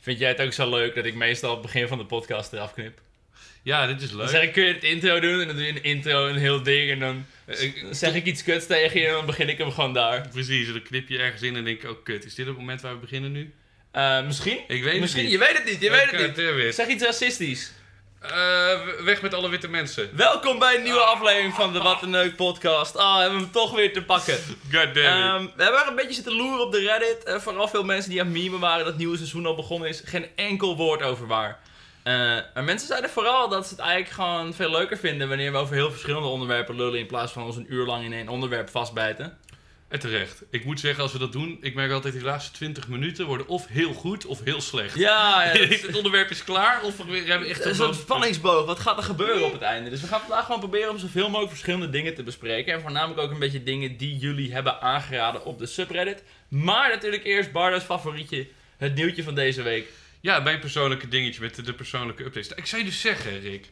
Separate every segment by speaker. Speaker 1: Vind jij het ook zo leuk dat ik meestal op het begin van de podcast eraf knip?
Speaker 2: Ja, dit is
Speaker 1: Dan
Speaker 2: leuk.
Speaker 1: zeg ik, kun je het intro doen? En dan doe je een intro, een heel ding. En dan
Speaker 2: Eh, ik-
Speaker 1: zeg ik iets kuts tegen je en dan begin ik hem gewoon daar.
Speaker 2: Precies, en dan knip je ergens in en denk ik, oh kut, is dit het moment waar we beginnen nu?
Speaker 1: Eh, misschien?
Speaker 2: Ik weet
Speaker 1: misschien?
Speaker 2: het
Speaker 1: Je
Speaker 2: niet.
Speaker 1: weet het niet, je weet het niet.
Speaker 2: Weer.
Speaker 1: Zeg iets racistisch.
Speaker 2: Eh, we- weg met alle witte mensen.
Speaker 1: Welkom bij een nieuwe aflevering van de Wat een Neuk podcast. Ah, hebben we hem toch weer te pakken.
Speaker 2: God damn it.
Speaker 1: Ehm, we hebben een beetje zitten loeren op de Reddit. Eh, vooral veel mensen die aan het memen waren dat het nieuwe seizoen al begonnen is. Geen enkel woord over waar. Eh, maar mensen zeiden vooral dat ze het eigenlijk gewoon veel leuker vinden wanneer we over heel verschillende onderwerpen lullen in plaats van ons een uur lang in één onderwerp vastbijten.
Speaker 2: En Eh, terecht. Ik moet zeggen, als we dat doen, ik merk altijd die laatste 20 minuten worden of heel goed of heel slecht.
Speaker 1: Ja, ja dat is-
Speaker 2: het onderwerp is klaar of we hebben echt
Speaker 1: Het is een
Speaker 2: loop-
Speaker 1: spanningsboog. Wat gaat er gebeuren op het einde? Dus we gaan vandaag gewoon proberen om zoveel mogelijk verschillende dingen te bespreken. En voornamelijk ook een beetje dingen die jullie hebben aangeraden op de subreddit. Maar natuurlijk eerst Bardo's favorietje, het nieuwtje van deze week.
Speaker 2: Ja, mijn persoonlijke dingetje met de, de persoonlijke updates. Ik zou je dus zeggen, Rick.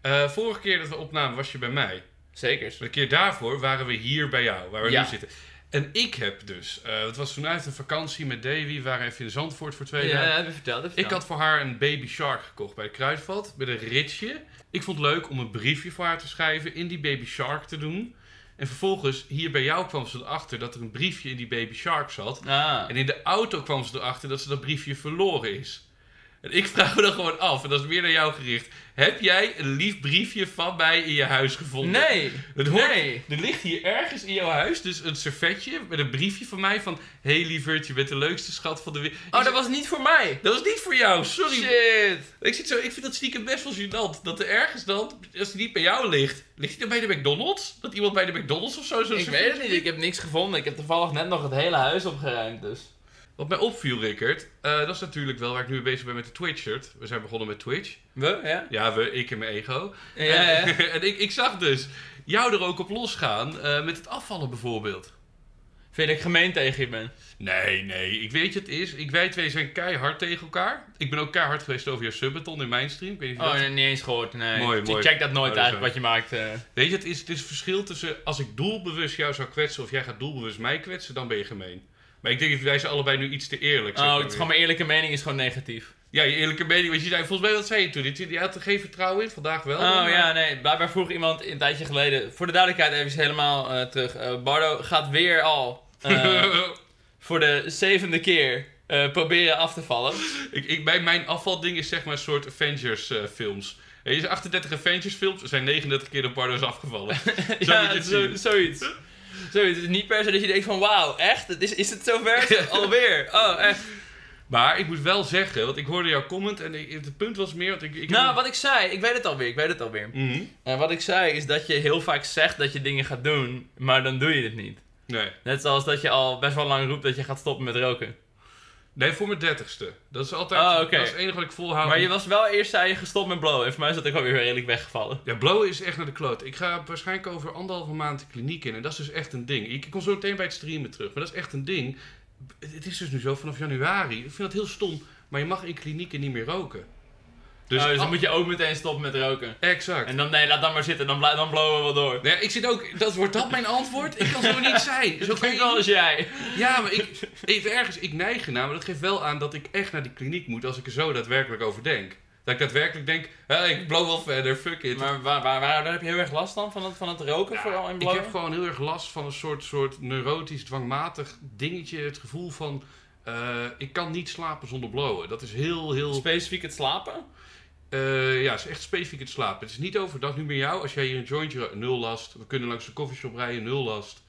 Speaker 2: eh, vorige keer dat we opnamen was je bij mij.
Speaker 1: Zekers.
Speaker 2: De keer daarvoor waren we hier bij jou, waar we
Speaker 1: Ja.
Speaker 2: nu zitten. En ik heb dus, eh, het was toen uit een vakantie met Davy, we waren even in Zandvoort voor
Speaker 1: Ja,
Speaker 2: twee dagen.
Speaker 1: heb je verteld. heb je
Speaker 2: Ik had voor haar een baby shark gekocht bij de kruidvat, met een ritje. Ik vond het leuk om een briefje voor haar te schrijven, in die baby shark te doen. En vervolgens, hier bij jou kwam ze erachter dat er een briefje in die baby shark zat.
Speaker 1: verteld. Ah.
Speaker 2: En in de auto kwam ze erachter dat ze dat briefje verloren is. En ik vraag me dan gewoon af, en dat is meer naar jou gericht. Heb jij een lief briefje van mij in je huis gevonden?
Speaker 1: Nee.
Speaker 2: Het hoort-
Speaker 1: Nee.
Speaker 2: Er ligt hier ergens in jouw huis dus een servetje met een briefje van mij van... Hé hey, lieverd, je bent de leukste schat van de wereld.
Speaker 1: Oh, dat was niet voor mij.
Speaker 2: Dat was niet voor jou, sorry.
Speaker 1: Shit.
Speaker 2: Ik, zit zo, ik vind dat stiekem best wel gênant. Dat er ergens dan, als die niet bij jou ligt... Ligt die dan bij de McDonald's? Dat iemand bij de McDonald's of zo zo'n
Speaker 1: Ik
Speaker 2: servetje
Speaker 1: weet het niet. Ik heb niks gevonden. Ik heb toevallig net nog het hele huis opgeruimd, dus.
Speaker 2: Wat mij opviel, Rickert, eh, dat is natuurlijk wel waar ik nu mee bezig ben met de Twitch-shirt. We zijn begonnen met Twitch.
Speaker 1: We? Ja?
Speaker 2: Ja, we, ik en mijn ego.
Speaker 1: Ja, ja.
Speaker 2: En, en ik, ik zag dus jou er ook op losgaan eh, met het afvallen bijvoorbeeld.
Speaker 1: Vind ik gemeen tegen je ben.
Speaker 2: Nee, nee, ik weet je het is. Ik, wij twee zijn keihard tegen elkaar. Ik ben ook keihard geweest over jouw subathon in mijn stream. Ik weet niet of je
Speaker 1: Oh,
Speaker 2: dat-
Speaker 1: nee, niet eens gehoord, nee.
Speaker 2: Mooi,
Speaker 1: Ik
Speaker 2: mooi.
Speaker 1: Check dat nooit
Speaker 2: Oh, dat is
Speaker 1: eigenlijk, wat je maakt. eh.
Speaker 2: Weet je, het is, het is verschil tussen als ik doelbewust jou zou kwetsen of jij gaat doelbewust mij kwetsen, dan ben je gemeen. Maar ik denk dat wij zijn allebei nu iets te eerlijk. zeg
Speaker 1: Oh,
Speaker 2: maar
Speaker 1: het is
Speaker 2: weer.
Speaker 1: gewoon mijn eerlijke mening is gewoon negatief.
Speaker 2: Ja, je eerlijke mening. Want je zei, volgens mij, wat zei je toen? Je- Je had er geen vertrouwen in, vandaag wel.
Speaker 1: Oh
Speaker 2: maar-
Speaker 1: ja, nee. Blijkbaar vroeg iemand een tijdje geleden. Voor de duidelijkheid even helemaal eh, terug. eh, Bardo gaat weer al eh, voor de zevende keer eh, proberen af te vallen.
Speaker 2: Ik, ik, bij mijn afvalding is zeg maar een soort Avengers eh, films. Er is 38 Avengers films, er zijn 39 keer de Bardo's afgevallen. Zo moet
Speaker 1: ja,
Speaker 2: je het
Speaker 1: zo,
Speaker 2: zien.
Speaker 1: zoiets. Zoiets. Het is niet per se dat je denkt van wauw, echt? Het Is, is het zover? Alweer? Oh, echt?
Speaker 2: Maar ik moet wel zeggen, want ik hoorde jouw comment en ik- het punt was meer... Want ik, ik
Speaker 1: Nou, wat ik zei, ik weet het alweer, ik weet het alweer.
Speaker 2: Mhm.
Speaker 1: En wat ik zei is dat je heel vaak zegt dat je dingen gaat doen, maar dan doe je het niet.
Speaker 2: Nee.
Speaker 1: Net zoals dat je al best wel lang roept dat je gaat stoppen met roken.
Speaker 2: nee, voor mijn dertigste. Dat is altijd...
Speaker 1: Ah, oké.
Speaker 2: Dat is het enige wat ik volhoud.
Speaker 1: Maar je was wel eerst zei je gestopt met blowen. En voor mij is dat ook wel weer redelijk weggevallen.
Speaker 2: Ja, blowen is echt naar de kloot. Ik ga waarschijnlijk over anderhalve maand de kliniek in. En dat is dus echt een ding. Ik kom zo meteen bij het streamen terug. Maar dat is echt een ding. Het is dus nu zo vanaf januari. Ik vind dat heel stom. Maar je mag in klinieken niet meer roken.
Speaker 1: Dus, dus dan
Speaker 2: ah,
Speaker 1: moet je ook meteen stoppen met roken.
Speaker 2: Exact.
Speaker 1: En dan, nee, laat dan maar zitten. Dan, blij- dan blowen we wel door.
Speaker 2: Nee, ik zit ook... Dat, wordt dat mijn antwoord? Ik kan zo niet zijn. Zo
Speaker 1: Zo
Speaker 2: kan
Speaker 1: klinkt
Speaker 2: je
Speaker 1: wel als jij.
Speaker 2: Ja, maar ik, ik- ergens, ik neig ernaar, maar dat geeft wel aan dat ik echt naar die kliniek moet als ik er zo daadwerkelijk over denk. Dat ik daadwerkelijk denk, "Hé, ik blow wel verder, fuck it.
Speaker 1: Maar waar, waar, waar, daar heb je heel erg last dan? Van het, van het roken
Speaker 2: Ja,
Speaker 1: vooral en
Speaker 2: ik
Speaker 1: blowen?
Speaker 2: heb gewoon heel erg last van een soort, soort neurotisch, dwangmatig dingetje. Het gevoel van, eh, ik kan niet slapen zonder blowen. Dat is heel, heel...
Speaker 1: Specifiek het slapen?
Speaker 2: eh, ja, het is echt specifiek het slapen. Het is niet overdag, nu bij jou. Als jij hier een jointje rookt, nul last. We kunnen langs de koffieshop rijden, nul last.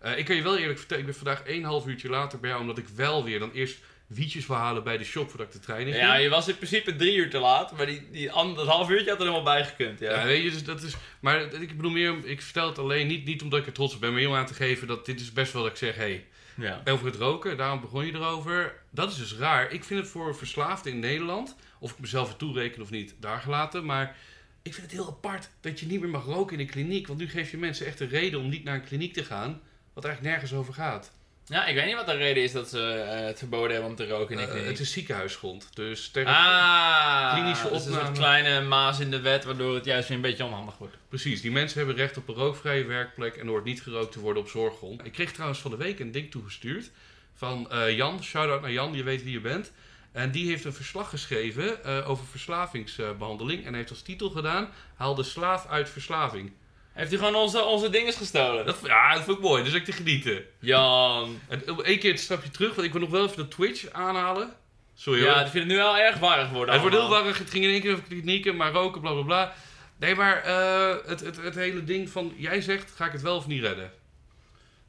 Speaker 2: Eh, ik kan je wel eerlijk vertellen, ik ben vandaag 1,5 uurtje later bij jou, omdat ik wel weer dan eerst wietjes wil halen bij de shop voordat ik de trein in ging.
Speaker 1: Ja, je was in principe drie uur te laat. Maar die, die ander, dat half uurtje had er helemaal bij gekund. Ja.
Speaker 2: Ja, weet je, dus dat is. Maar het- ik bedoel meer, ik vertel het alleen niet, niet omdat ik er trots op ben, maar heel aan te geven dat dit is best wel dat ik zeg: hé,
Speaker 1: ja.
Speaker 2: hey, over het roken, daarom begon je erover. Dat is dus raar. Ik vind het voor verslaafden in Nederland, of ik mezelf het toereken of niet, daar gelaten. Maar ik vind het heel apart dat je niet meer mag roken in een kliniek, want nu geef je mensen echt een reden om niet naar een kliniek te gaan, wat eigenlijk nergens over gaat.
Speaker 1: Ja, ik weet niet wat de reden is dat ze eh, het verboden hebben om te roken. in
Speaker 2: Eh,
Speaker 1: de kliniek.
Speaker 2: het is ziekenhuisgrond, dus tegen.
Speaker 1: Ah,
Speaker 2: Klinische
Speaker 1: dus een soort
Speaker 2: opname.
Speaker 1: kleine maas in de wet, waardoor het juist weer een beetje onhandig wordt.
Speaker 2: Precies, die mensen hebben recht op een rookvrije werkplek en er wordt niet gerookt te worden op zorggrond. Ik kreeg trouwens van de week een ding toegestuurd van eh, Jan, shout-out naar Jan, je weet wie je bent. Eh, En die heeft een verslag geschreven eh, over verslavingsbehandeling. En heeft als titel gedaan: Haal de slaaf uit verslaving.
Speaker 1: Heeft hij gewoon onze, onze dinges gestolen?
Speaker 2: Dat, ja, dat vond ik mooi, dus ik te genieten.
Speaker 1: Jan.
Speaker 2: En op één keer het stapje terug, want ik wil nog wel even de Twitch aanhalen. Sorry hoor.
Speaker 1: Ja, ik vind het nu wel erg warrig worden.
Speaker 2: het wordt heel
Speaker 1: allemaal.
Speaker 2: warrig, het ging in één keer over klinieken, maar roken, bla bla bla. Nee, maar eh, het, het, het hele ding van, jij zegt, ga ik het wel of niet redden?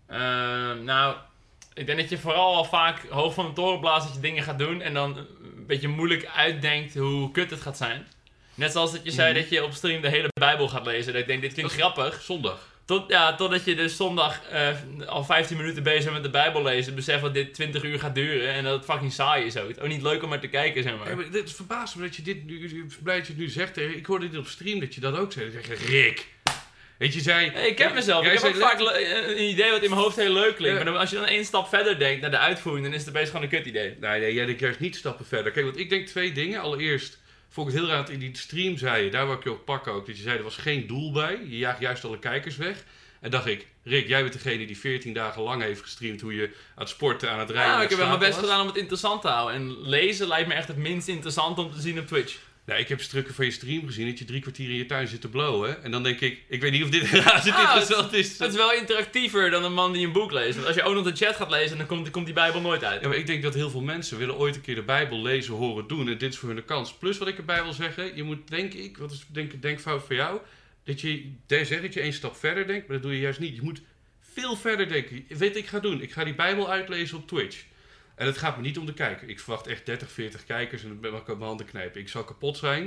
Speaker 1: Ehm, nou, ik denk dat je vooral al vaak hoog van de toren blaast dat je dingen gaat doen en dan een beetje moeilijk uitdenkt hoe kut het gaat zijn. Net zoals dat je zei
Speaker 2: Mhm.
Speaker 1: dat je op stream de hele Bijbel gaat lezen. Dat ik denk, dit klinkt
Speaker 2: Dat-
Speaker 1: grappig.
Speaker 2: Zondag.
Speaker 1: Tot, ja, totdat je dus zondag eh, al 15 minuten bezig bent met de Bijbel lezen. Besef dat dit 20 uur gaat duren en dat het fucking saai is ook. Het is Ook niet leuk om er te kijken, zeg maar.
Speaker 2: Ja, maar dit verbaast me dat je dit nu, ik ben blij dat je het nu zegt. Ik hoorde dit op stream dat je dat ook zei. Dan zeg je, Rick. Weet je, je zei...
Speaker 1: Hey, ik ken mezelf.
Speaker 2: Jij
Speaker 1: Ik heb
Speaker 2: zei
Speaker 1: ook vaak le- een idee wat in mijn hoofd heel leuk klinkt.
Speaker 2: Ja.
Speaker 1: Maar dan- als je dan één stap verder denkt naar de uitvoering, dan is het opeens gewoon een kut idee.
Speaker 2: Nee, nee, jij denkt juist niet stappen verder. Kijk, want ik denk twee dingen. Allereerst vond ik het heel raar dat in die stream zei je, daar wou ik je op pakken ook, dat je zei er was geen doel bij. Je jaagt juist alle kijkers weg. En dacht ik, Rick, jij bent degene die 14 dagen lang heeft gestreamd hoe je aan het sporten, aan het rijden.
Speaker 1: Ja,
Speaker 2: aan
Speaker 1: Nou, Ah, ik
Speaker 2: het
Speaker 1: heb wel mijn best
Speaker 2: slapen was.
Speaker 1: gedaan om het interessant te houden. En lezen lijkt me echt het minst interessant om te zien op Twitch.
Speaker 2: Nou, ik heb stukken van je stream gezien dat je drie kwartier in je tuin zit te blowen. En dan denk ik, ik weet niet of dit raar zit
Speaker 1: Ah,
Speaker 2: interessant is.
Speaker 1: Het is wel interactiever dan een man die een boek leest. Want als je ook nog de chat gaat lezen, dan komt, komt die Bijbel nooit uit.
Speaker 2: Ja, Eh, maar ik denk dat heel veel mensen willen ooit een keer de Bijbel lezen, horen, doen. En dit is voor hun de kans. Plus wat ik erbij wil zeggen, je moet denk ik, wat is denk ik denkfout voor jou, dat je jij zegt dat je één stap verder denkt, maar dat doe je juist niet. Je moet veel verder denken. Weet ik ga doen? Ik ga die Bijbel uitlezen op Twitch. En het gaat me niet om de kijker. Ik verwacht echt 30, 40 kijkers en dan ben ik aan mijn handen knijpen. Ik zal kapot zijn.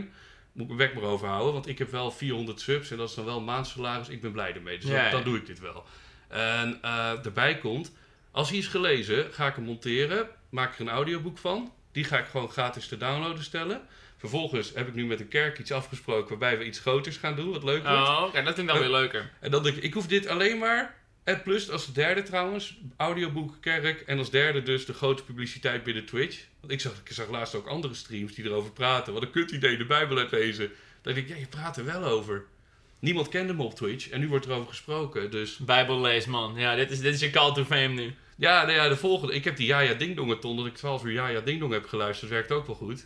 Speaker 2: Moet ik mijn weg maar overhouden, want ik heb wel 400 subs en dat is dan wel een maandsalaris. Ik ben blij ermee, dus
Speaker 1: Ja,
Speaker 2: dan,
Speaker 1: ja.
Speaker 2: dan doe ik dit wel. En eh daarbij komt, als hij is gelezen, ga ik hem monteren, maak er een audioboek van. Die ga ik gewoon gratis te downloaden stellen. Vervolgens heb ik nu met een kerk iets afgesproken waarbij we iets groters gaan doen, wat leuk wordt.
Speaker 1: Oh, oké, dat klinkt wel weer leuker.
Speaker 2: En dan denk ik, ik hoef dit alleen maar. En plus als derde trouwens, audioboek, kerk. En als derde dus de grote publiciteit binnen Twitch. Want ik zag, ik zag laatst ook andere streams die erover praten. Wat een kut idee, de Bijbel uitlezen. Dan denk ik, ja, je praat er wel over. Niemand kende me op Twitch en nu wordt erover gesproken. Dus
Speaker 1: Bijbel lees, man. Ja, dit is, dit is je call to fame nu.
Speaker 2: ja, nou ja, de volgende. Ik heb die Jaja Dingdong ton dat ik 12 uur Jaja Dingdong heb geluisterd. Dat werkt ook wel goed.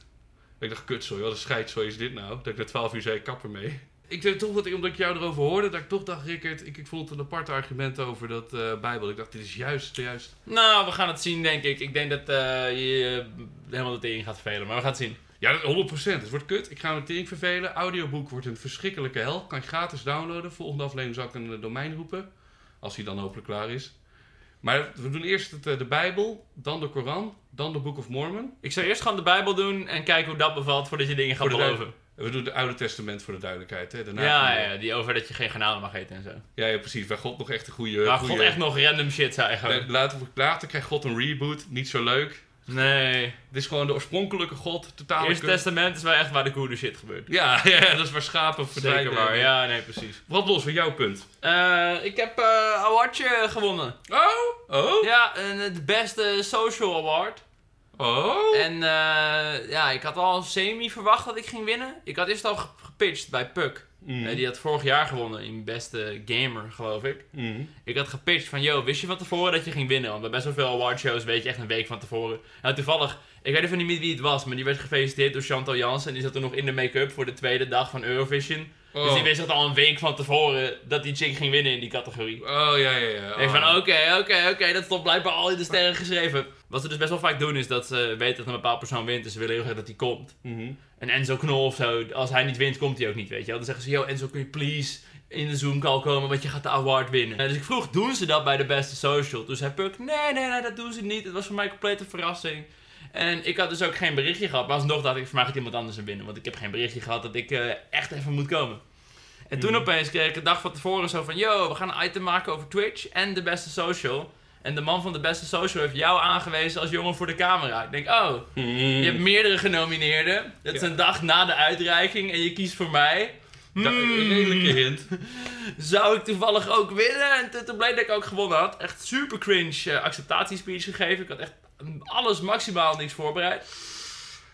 Speaker 2: Ik dacht, kutzooi, wat een scheidzooi is dit nou? Dat ik na 12 uur zei, kap ermee. Ik weet toch dat ik, omdat ik jou erover hoorde, dat ik toch dacht, Rickert, ik, ik vond het een apart argument over dat eh, Bijbel. Ik dacht, dit is juist, juist.
Speaker 1: Nou, we gaan het zien, denk ik. Ik denk dat eh, je eh, helemaal de tering gaat vervelen, maar we gaan het zien.
Speaker 2: Ja, dat- 100%. Het wordt kut. Ik ga me tering vervelen. Audioboek wordt een verschrikkelijke hel. Kan je gratis downloaden. Volgende aflevering zal ik een eh, domein roepen. Als die dan hopelijk klaar is. Maar we doen eerst het, eh, de Bijbel, dan de Koran, dan de Book of Mormon.
Speaker 1: Ik zou eerst gewoon de Bijbel doen en kijken hoe dat bevalt voordat je dingen gaat
Speaker 2: Voor de
Speaker 1: beloven.
Speaker 2: We doen het Oude Testament voor de duidelijkheid. Hè? Daarna
Speaker 1: Ja, ja, die over dat je geen garnalen mag eten en zo.
Speaker 2: ja, ja, precies. Waar God nog echt een goede.
Speaker 1: Maar
Speaker 2: goede
Speaker 1: God echt nog random shit zei gewoon.
Speaker 2: Nee, later, later krijgt God een reboot. Niet zo leuk.
Speaker 1: Nee.
Speaker 2: Het is gewoon de oorspronkelijke God. Totaal.
Speaker 1: Eerste testament is wel echt waar de goede shit gebeurt.
Speaker 2: Ja, ja, dat is waar schapen verdwijnen.
Speaker 1: Zeker waar, ja, nee, precies.
Speaker 2: Wat los van jouw punt?
Speaker 1: Eh, ik heb eh awardje gewonnen.
Speaker 2: Oh, oh,
Speaker 1: Ja, een- het beste social award.
Speaker 2: oh.
Speaker 1: En eh, ja, ik had al semi verwacht dat ik ging winnen. Ik had eerst al ge- gepitcht bij Puck.
Speaker 2: Mm,
Speaker 1: Eh, die had vorig jaar gewonnen in beste gamer, geloof ik.
Speaker 2: mm.
Speaker 1: Ik had gepitcht van, yo, wist je van tevoren dat je ging winnen? Want bij best wel veel awardshows weet je echt een week van tevoren. Nou, toevallig, ik weet even niet meer wie het was, maar die werd gefeliciteerd door Chantal Jansen. En die zat toen nog in de make-up voor de tweede dag van Eurovision. Dus
Speaker 2: Oh.
Speaker 1: die wist echt al een week van tevoren dat die chick ging winnen in die categorie.
Speaker 2: Oh, ja, ja, ja.
Speaker 1: Ik
Speaker 2: oh.
Speaker 1: van, oké, oké, oké, dat stond blijkbaar al in de sterren geschreven. Wat ze dus best wel vaak doen is dat ze weten dat een bepaald persoon wint. Dus ze willen heel graag dat die komt.
Speaker 2: Mhm.
Speaker 1: En Enzo Knol of zo, als hij niet wint, komt hij ook niet, weet je wel. Dan zeggen ze, yo Enzo, kun je please in de Zoom-call komen, want je gaat de award winnen. En dus ik vroeg, doen ze dat bij de beste social? Toen zei Puck, nee, nee, nee, dat doen ze niet. Het was voor mij compleet een verrassing. En ik had dus ook geen berichtje gehad, maar alsnog dacht ik, voor mij gaat iemand anders hem winnen. Want ik heb geen berichtje gehad dat ik eh, echt even moet komen. En toen
Speaker 2: Mhm.
Speaker 1: opeens kreeg ik een dag van tevoren zo van, yo, we gaan een item maken over Twitch en de beste social. En de man van de beste social heeft jou aangewezen als jongen voor de camera. Ik denk, oh, je
Speaker 2: Mm.
Speaker 1: hebt meerdere genomineerden. Het is
Speaker 2: Hmm. Ja.
Speaker 1: een dag na de uitreiking en je kiest voor mij.
Speaker 2: Da-
Speaker 1: Hmm,
Speaker 2: een redelijke hint.
Speaker 1: Zou ik toevallig ook winnen? En toen- toen bleek dat ik ook gewonnen had. Echt super cringe eh, acceptatiespeech gegeven. Ik had echt alles maximaal niks voorbereid.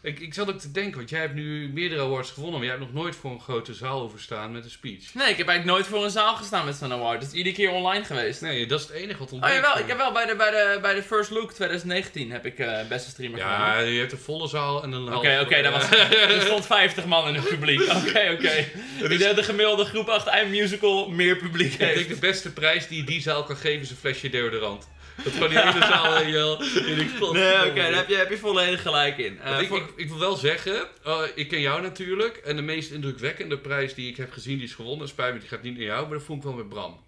Speaker 2: Ik, ik zat ook te denken, want jij hebt nu meerdere awards gewonnen, maar jij hebt nog nooit voor een grote zaal overstaan met een speech.
Speaker 1: Nee, ik heb eigenlijk nooit voor een zaal gestaan met zo'n award. Dat is iedere keer online geweest.
Speaker 2: Nee, dat is het enige wat
Speaker 1: Oh
Speaker 2: ontbreekt.
Speaker 1: jawel, ik heb wel bij de, bij de, bij de First Look 2019 heb ik eh, beste streamer
Speaker 2: Ja,
Speaker 1: gewonnen.
Speaker 2: je hebt een volle zaal en een halve.
Speaker 1: Oké, oké, dat was- Er stond 50 man in het publiek. Oké, oké.
Speaker 2: Dus-
Speaker 1: Ik denk dat de gemiddelde groep achter een musical meer publiek
Speaker 2: Ik denk
Speaker 1: heeft.
Speaker 2: de beste prijs die je die zaal kan geven is een flesje deodorant. Dat kan die hele zaal in je in de pot.
Speaker 1: Nee, oké, daar heb je, heb je volledig gelijk in. Eh,
Speaker 2: Want ik,
Speaker 1: voor-
Speaker 2: ik, ik wil wel zeggen, eh, ik ken jou natuurlijk. En de meest indrukwekkende prijs die ik heb gezien, die is gewonnen. Spijt me, die gaat niet naar jou. Maar dat vond ik wel met Bram.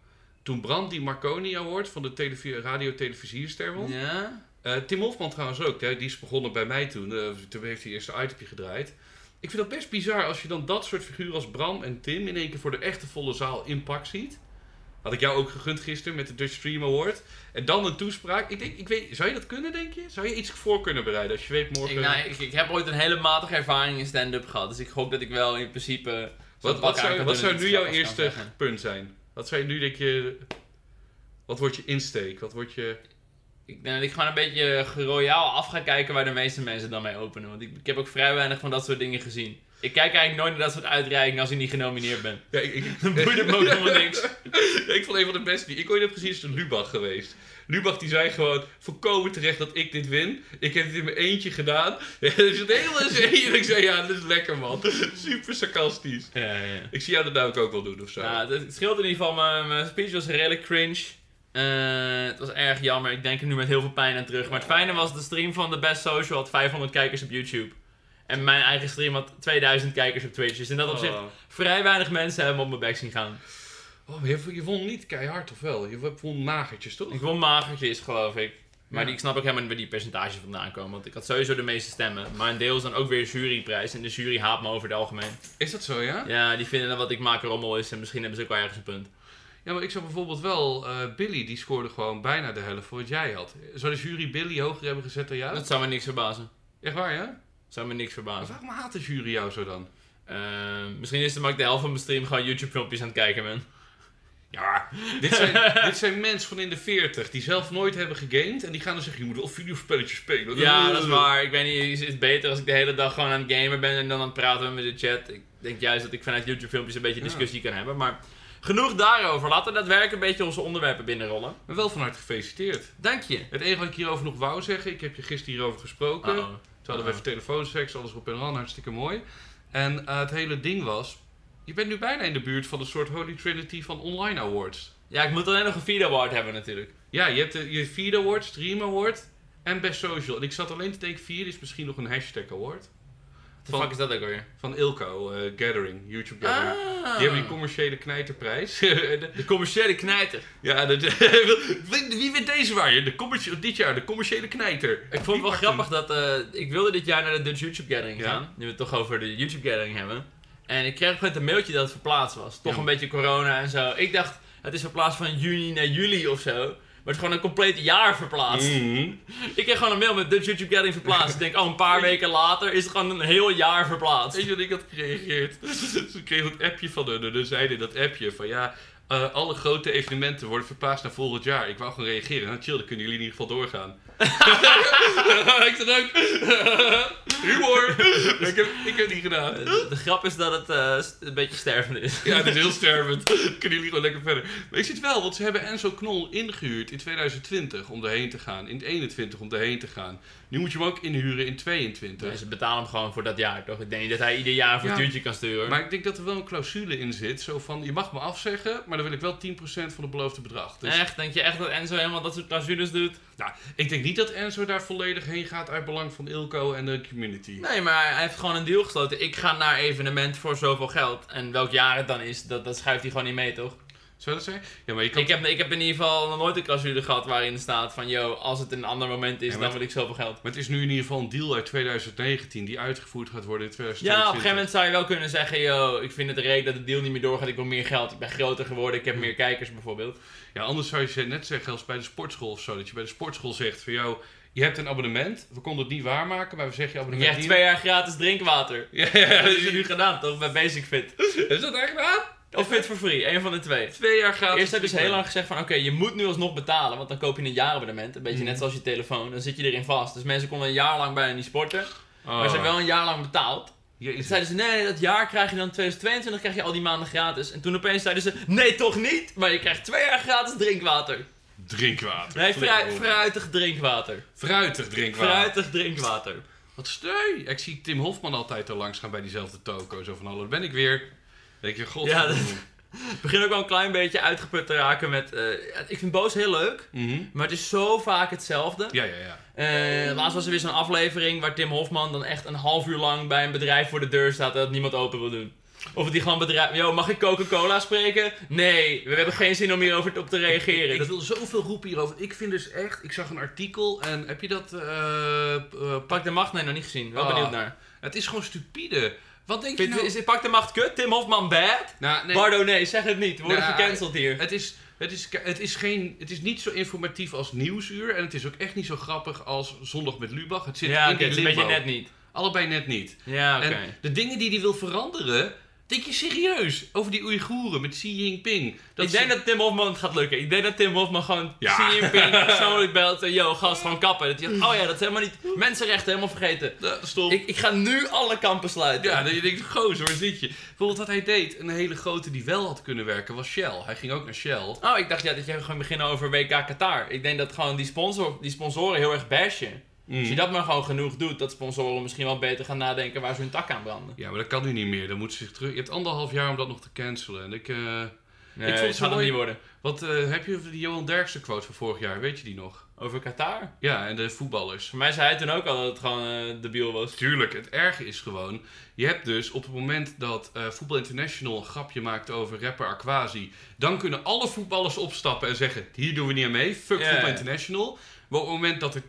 Speaker 2: Toen Bram die Marconi Award van de televi- Radio Televisierster won.
Speaker 1: Ja?
Speaker 2: Eh, Tim Hofman trouwens ook. hè, Die is begonnen bij mij toen. eh, toen heeft hij eerst een itemje gedraaid. Ik vind dat best bizar als je dan dat soort figuren als Bram en Tim in één keer voor de echte volle zaal impact ziet. Had ik jou ook gegund gisteren met de Dutch Stream Award. En dan een toespraak. Ik denk, ik weet, zou je dat kunnen, denk je? Zou je iets voor kunnen bereiden als je weet morgen...
Speaker 1: Ik, nou, ik, ik heb ooit een hele matige ervaring in stand-up gehad. Dus ik hoop dat ik wel in principe...
Speaker 2: Wat,
Speaker 1: pak
Speaker 2: wat,
Speaker 1: aan kan
Speaker 2: zou,
Speaker 1: doen
Speaker 2: wat
Speaker 1: en
Speaker 2: zou
Speaker 1: iets
Speaker 2: nu jouw
Speaker 1: grappigs kan
Speaker 2: eerste
Speaker 1: zeggen.
Speaker 2: punt zijn? Wat zou je nu denk je... Wat wordt je insteek? Wat wordt je...
Speaker 1: Ik denk dat ik gewoon een beetje royaal af ga kijken waar de meeste mensen dan mee openen. Want ik, ik heb ook vrij weinig van dat soort dingen gezien. Ik kijk eigenlijk nooit naar dat soort uitreikingen als je niet genomineerd bent.
Speaker 2: Ja, ik, ik,
Speaker 1: Dan boeit het me ook helemaal niks.
Speaker 2: ik vond een van de beste die ik ooit heb gezien is de Lubach geweest. Lubach die zei gewoon volkomen terecht dat ik dit win. Ik heb dit in mijn eentje gedaan. Er zit helemaal in zijn eentje. Ik zei ja, dat is lekker man. Super sarcastisch.
Speaker 1: Ja, ja.
Speaker 2: Ik zie jou dat namelijk ook wel doen of zo.
Speaker 1: Nou, het, het scheelt in ieder geval. Mijn, mijn speech was redelijk cringe. Eh, het was erg jammer. Ik denk er nu met heel veel pijn aan terug. Maar het fijne was, de stream van The Best Social had 500 kijkers op YouTube. En mijn eigen stream had 2000 kijkers op Twitch. Dus in dat opzicht
Speaker 2: oh.
Speaker 1: vrij weinig mensen hebben me op mijn bek zien gaan.
Speaker 2: Oh, maar je, je won niet keihard of wel? Je won magertjes toch?
Speaker 1: Ik wil magertjes, geloof ik. Maar
Speaker 2: Ja.
Speaker 1: die, ik snap ook helemaal niet waar die percentages vandaan komen. Want ik had sowieso de meeste stemmen. Maar een deel is dan ook weer juryprijs. En de jury haat me over het algemeen.
Speaker 2: Is dat zo ja?
Speaker 1: Ja, die vinden dat wat ik maak rommel is. En misschien hebben ze ook wel ergens een punt.
Speaker 2: Ja, maar ik zou bijvoorbeeld wel... eh, Billy die scoorde gewoon bijna de helft voor wat jij had. Zou de jury Billy hoger hebben gezet dan jou?
Speaker 1: Dat zou me niks verbazen.
Speaker 2: Echt waar ja?
Speaker 1: Zou me niks verbazen.
Speaker 2: Maar waarom haat de jury jou zo dan?
Speaker 1: Eh, misschien is het maar ik de helft van mijn stream gewoon YouTube filmpjes aan het kijken ben.
Speaker 2: Ja, dit zijn, dit zijn mensen van in de 40 die zelf nooit hebben gegamed. En die gaan dan zeggen: je moet wel videospelletjes spelen.
Speaker 1: Ja, dat is waar. Ik weet niet, is het beter als ik de hele dag gewoon aan het gamen ben en dan aan het praten ben met de chat. Ik denk juist dat ik vanuit YouTube filmpjes een beetje
Speaker 2: Ja.
Speaker 1: discussie kan hebben. Maar genoeg daarover. Laten we daadwerkelijk een beetje onze onderwerpen binnenrollen.
Speaker 2: Maar wel van harte gefeliciteerd.
Speaker 1: Dank je.
Speaker 2: Het enige wat ik hierover nog wou zeggen: ik heb je gisteren hierover gesproken.
Speaker 1: Uh-oh.
Speaker 2: Toen
Speaker 1: Oh.
Speaker 2: hadden we even telefoonseks, alles op en aan, hartstikke mooi. En eh, het hele ding was: je bent nu bijna in de buurt van een soort Holy Trinity van online awards.
Speaker 1: Ja, ik moet alleen nog een vierde award hebben natuurlijk.
Speaker 2: Ja, je hebt de, je vierde award, stream award en best social. En ik zat alleen te denken: vier is misschien nog een hashtag award.
Speaker 1: Wat de
Speaker 2: Van-
Speaker 1: fuck is dat ook alweer?
Speaker 2: Van Ilko, eh, Gathering, YouTube Gathering.
Speaker 1: Ah.
Speaker 2: Die hebben die commerciële knijterprijs. En, eh,
Speaker 1: de commerciële knijter.
Speaker 2: ja, dat, wie, wie wint deze waar? je? De commerci- dit jaar, de commerciële knijter.
Speaker 1: Ik vond het wel grappig dat eh, ik wilde dit jaar naar de Dutch YouTube Gathering
Speaker 2: Ja.
Speaker 1: gaan. Nu we het toch over de YouTube Gathering hebben. En ik kreeg op een gegeven moment een mailtje dat het verplaatst was. Toch
Speaker 2: Ja.
Speaker 1: een beetje corona en zo. Ik dacht, het is verplaatst van juni naar juli of zo. Maar het is gewoon een compleet jaar verplaatst.
Speaker 2: Mhm.
Speaker 1: Ik kreeg gewoon een mail met Dutch YouTube Gathering verplaatst. ik denk, oh, een paar weken later is het gewoon een heel jaar verplaatst.
Speaker 2: Weet je wat ik had gereageerd? Ze kregen een appje van hun. En dan zeiden in dat appje van ja, eh, alle grote evenementen worden verplaatst naar volgend jaar. Ik wou gewoon reageren. Nou chill, dan kunnen jullie in ieder geval doorgaan. ik zei ook. Humor. ik, heb, ik heb die gedaan.
Speaker 1: De, de grap is dat het eh, st- een beetje stervend is.
Speaker 2: Ja, dat is heel stervend. Kunnen jullie gewoon lekker verder. Maar ik zit wel, want ze hebben Enzo Knol ingehuurd in 2020 om erheen te gaan. In 21 om erheen te gaan. Nu moet je hem ook inhuren in 22.
Speaker 1: Dus ze betalen hem gewoon voor dat jaar, toch? Ik denk niet dat hij ieder jaar een
Speaker 2: Ja.
Speaker 1: factuurtje kan sturen.
Speaker 2: Maar ik denk dat er wel een clausule in zit. Zo van, je mag me afzeggen, maar dan wil ik wel 10% van het beloofde bedrag. Dus
Speaker 1: Echt? Denk je echt dat Enzo helemaal dat soort clausules doet?
Speaker 2: nou, ik denk niet dat Enzo daar volledig heen gaat uit belang van Ilko en de community.
Speaker 1: Nee, maar hij heeft gewoon een deal gesloten. Ik ga naar evenement voor zoveel geld. En welk jaar het dan is, dat, dat schuift hij gewoon niet mee, toch?
Speaker 2: Zou dat zijn? Ja, maar je kan...
Speaker 1: Ik heb, ik heb in ieder geval nog nooit een clausule gehad waarin staat van... ...yo, als het een ander moment is,
Speaker 2: Ja, maar
Speaker 1: dan
Speaker 2: het-
Speaker 1: wil ik zoveel geld.
Speaker 2: Maar het is nu in ieder geval een deal uit 2019 die uitgevoerd gaat worden in
Speaker 1: Ja, op een
Speaker 2: 2022.
Speaker 1: gegeven moment zou je wel kunnen zeggen... ...yo, ik vind het reek dat de deal niet meer doorgaat. Ik wil meer geld. Ik ben groter geworden. Ik heb meer kijkers, bijvoorbeeld.
Speaker 2: Ja, anders zou je ze net zeggen als bij de sportschool of zo. Dat je bij de sportschool zegt van jou, je hebt een abonnement. We konden het niet waarmaken, maar we zeggen
Speaker 1: Ik
Speaker 2: je abonnement
Speaker 1: krijg twee jaar gratis drinkwater.
Speaker 2: niet. Ja, ja,
Speaker 1: Dat is nu gedaan, toch? Bij Basic Fit.
Speaker 2: Is dat echt waar?
Speaker 1: Of Fit for Free, één van de twee.
Speaker 2: Twee jaar gratis.
Speaker 1: Eerst hebben ze heel
Speaker 2: drinkwater.
Speaker 1: lang gezegd van oké, je moet nu alsnog betalen, want dan koop je een jaarabonnement. Een beetje
Speaker 2: Mhm.
Speaker 1: net zoals je telefoon, dan zit je erin vast. Dus mensen konden een jaar lang bijna niet sporten. Maar ze hebben wel een jaar lang betaald. Toen
Speaker 2: Oh. Jezus.
Speaker 1: zeiden ze, nee, nee, dat jaar krijg je dan 2022, krijg je al die maanden gratis. En toen opeens zeiden ze, nee toch niet, maar je krijgt twee jaar gratis drinkwater.
Speaker 2: Drinkwater.
Speaker 1: Nee,
Speaker 2: Flikker
Speaker 1: fruit,
Speaker 2: op.
Speaker 1: fruitig drinkwater.
Speaker 2: Fruitig drinkwater.
Speaker 1: Fruitig drinkwater.
Speaker 2: Wat steu. Ik zie Tim Hofman altijd er langs gaan bij diezelfde toko. Zo van, hallo, daar ben ik weer. Dan denk je, god.
Speaker 1: Ja, dat- Ik begin ook wel een klein beetje uitgeput te raken met... eh, ik vind Boos heel leuk,
Speaker 2: Mhm.
Speaker 1: maar het is zo vaak hetzelfde.
Speaker 2: Ja, ja, ja.
Speaker 1: Eh, laatst was er weer zo'n aflevering waar Tim Hofman dan echt een half uur lang bij een bedrijf voor de deur staat en dat niemand open wil doen. Of die gewoon bedrijf... Yo, mag ik Coca-Cola spreken? Nee, we hebben geen zin om hierover op te reageren.
Speaker 2: Ik
Speaker 1: Dat
Speaker 2: wil zoveel roepen hierover. Ik vind dus echt, ik zag een artikel en heb je dat... eh, eh,
Speaker 1: Pak de Macht? Nee, nog niet gezien. Wel
Speaker 2: Ah.
Speaker 1: benieuwd naar.
Speaker 2: het is gewoon stupide. Wat denk je
Speaker 1: Oh. Vind,
Speaker 2: nou?
Speaker 1: is, Pak de Macht kut? Tim Hofman bad?
Speaker 2: Nou, nee,
Speaker 1: Bardo, nee, zeg het niet. We worden
Speaker 2: Nou,
Speaker 1: gecanceld hier.
Speaker 2: het is... Het is, het, is geen, het is niet zo informatief als Nieuwsuur. En het is ook echt niet zo grappig als Zondag met Lubach. Het zit
Speaker 1: Ja,
Speaker 2: in
Speaker 1: oké,
Speaker 2: die
Speaker 1: het is een
Speaker 2: limbo.
Speaker 1: beetje net niet.
Speaker 2: Allebei net niet.
Speaker 1: Ja, oké.
Speaker 2: En de dingen die hij wil veranderen... Denk je serieus? Over die Oeigoeren met Xi Jinping.
Speaker 1: ik denk dat Tim Hofman het gaat lukken. Ik denk dat Tim Hofman gewoon
Speaker 2: Ja.
Speaker 1: Xi Jinping persoonlijk belt. en yo, gast, gewoon kappen. Dat hij zegt, oh ja, dat is helemaal niet... Mensenrechten, helemaal vergeten.
Speaker 2: dat... Stop.
Speaker 1: Ik, ik ga nu alle kampen sluiten.
Speaker 2: Ja, dat je denkt, gozer, waar zit je? Bijvoorbeeld wat hij deed, een hele grote die wel had kunnen werken, was Shell. Hij ging ook naar Shell.
Speaker 1: Oh, ik dacht ja, dat jij gewoon beginnen over WK Qatar. Ik denk dat gewoon die, sponsor, die sponsoren heel erg bashen. Als
Speaker 2: Mm.
Speaker 1: je dat maar gewoon genoeg doet, dat sponsoren misschien wel beter gaan nadenken waar ze hun tak aan branden.
Speaker 2: Ja, maar dat kan nu niet meer. Dan moet ze zich terug... Je hebt anderhalf jaar om dat nog te cancelen. En ik... eh,
Speaker 1: Nee,
Speaker 2: vond
Speaker 1: ik het
Speaker 2: het zo
Speaker 1: gaat het
Speaker 2: mooi-
Speaker 1: niet worden.
Speaker 2: Wat eh, heb je over die Johan Derksen quote van vorig jaar? Weet je die nog?
Speaker 1: Over Qatar?
Speaker 2: Ja, en de voetballers.
Speaker 1: Voor mij zei hij toen ook al dat het gewoon eh, debiel was.
Speaker 2: Tuurlijk, het erge is gewoon... Je hebt dus op het moment dat eh Voetbal International een grapje maakt over rapper Aquasi... Dan kunnen alle voetballers opstappen en zeggen... Hier doen we niet aan mee, fuck
Speaker 1: Ja.
Speaker 2: Voetbal International. Maar op het moment dat er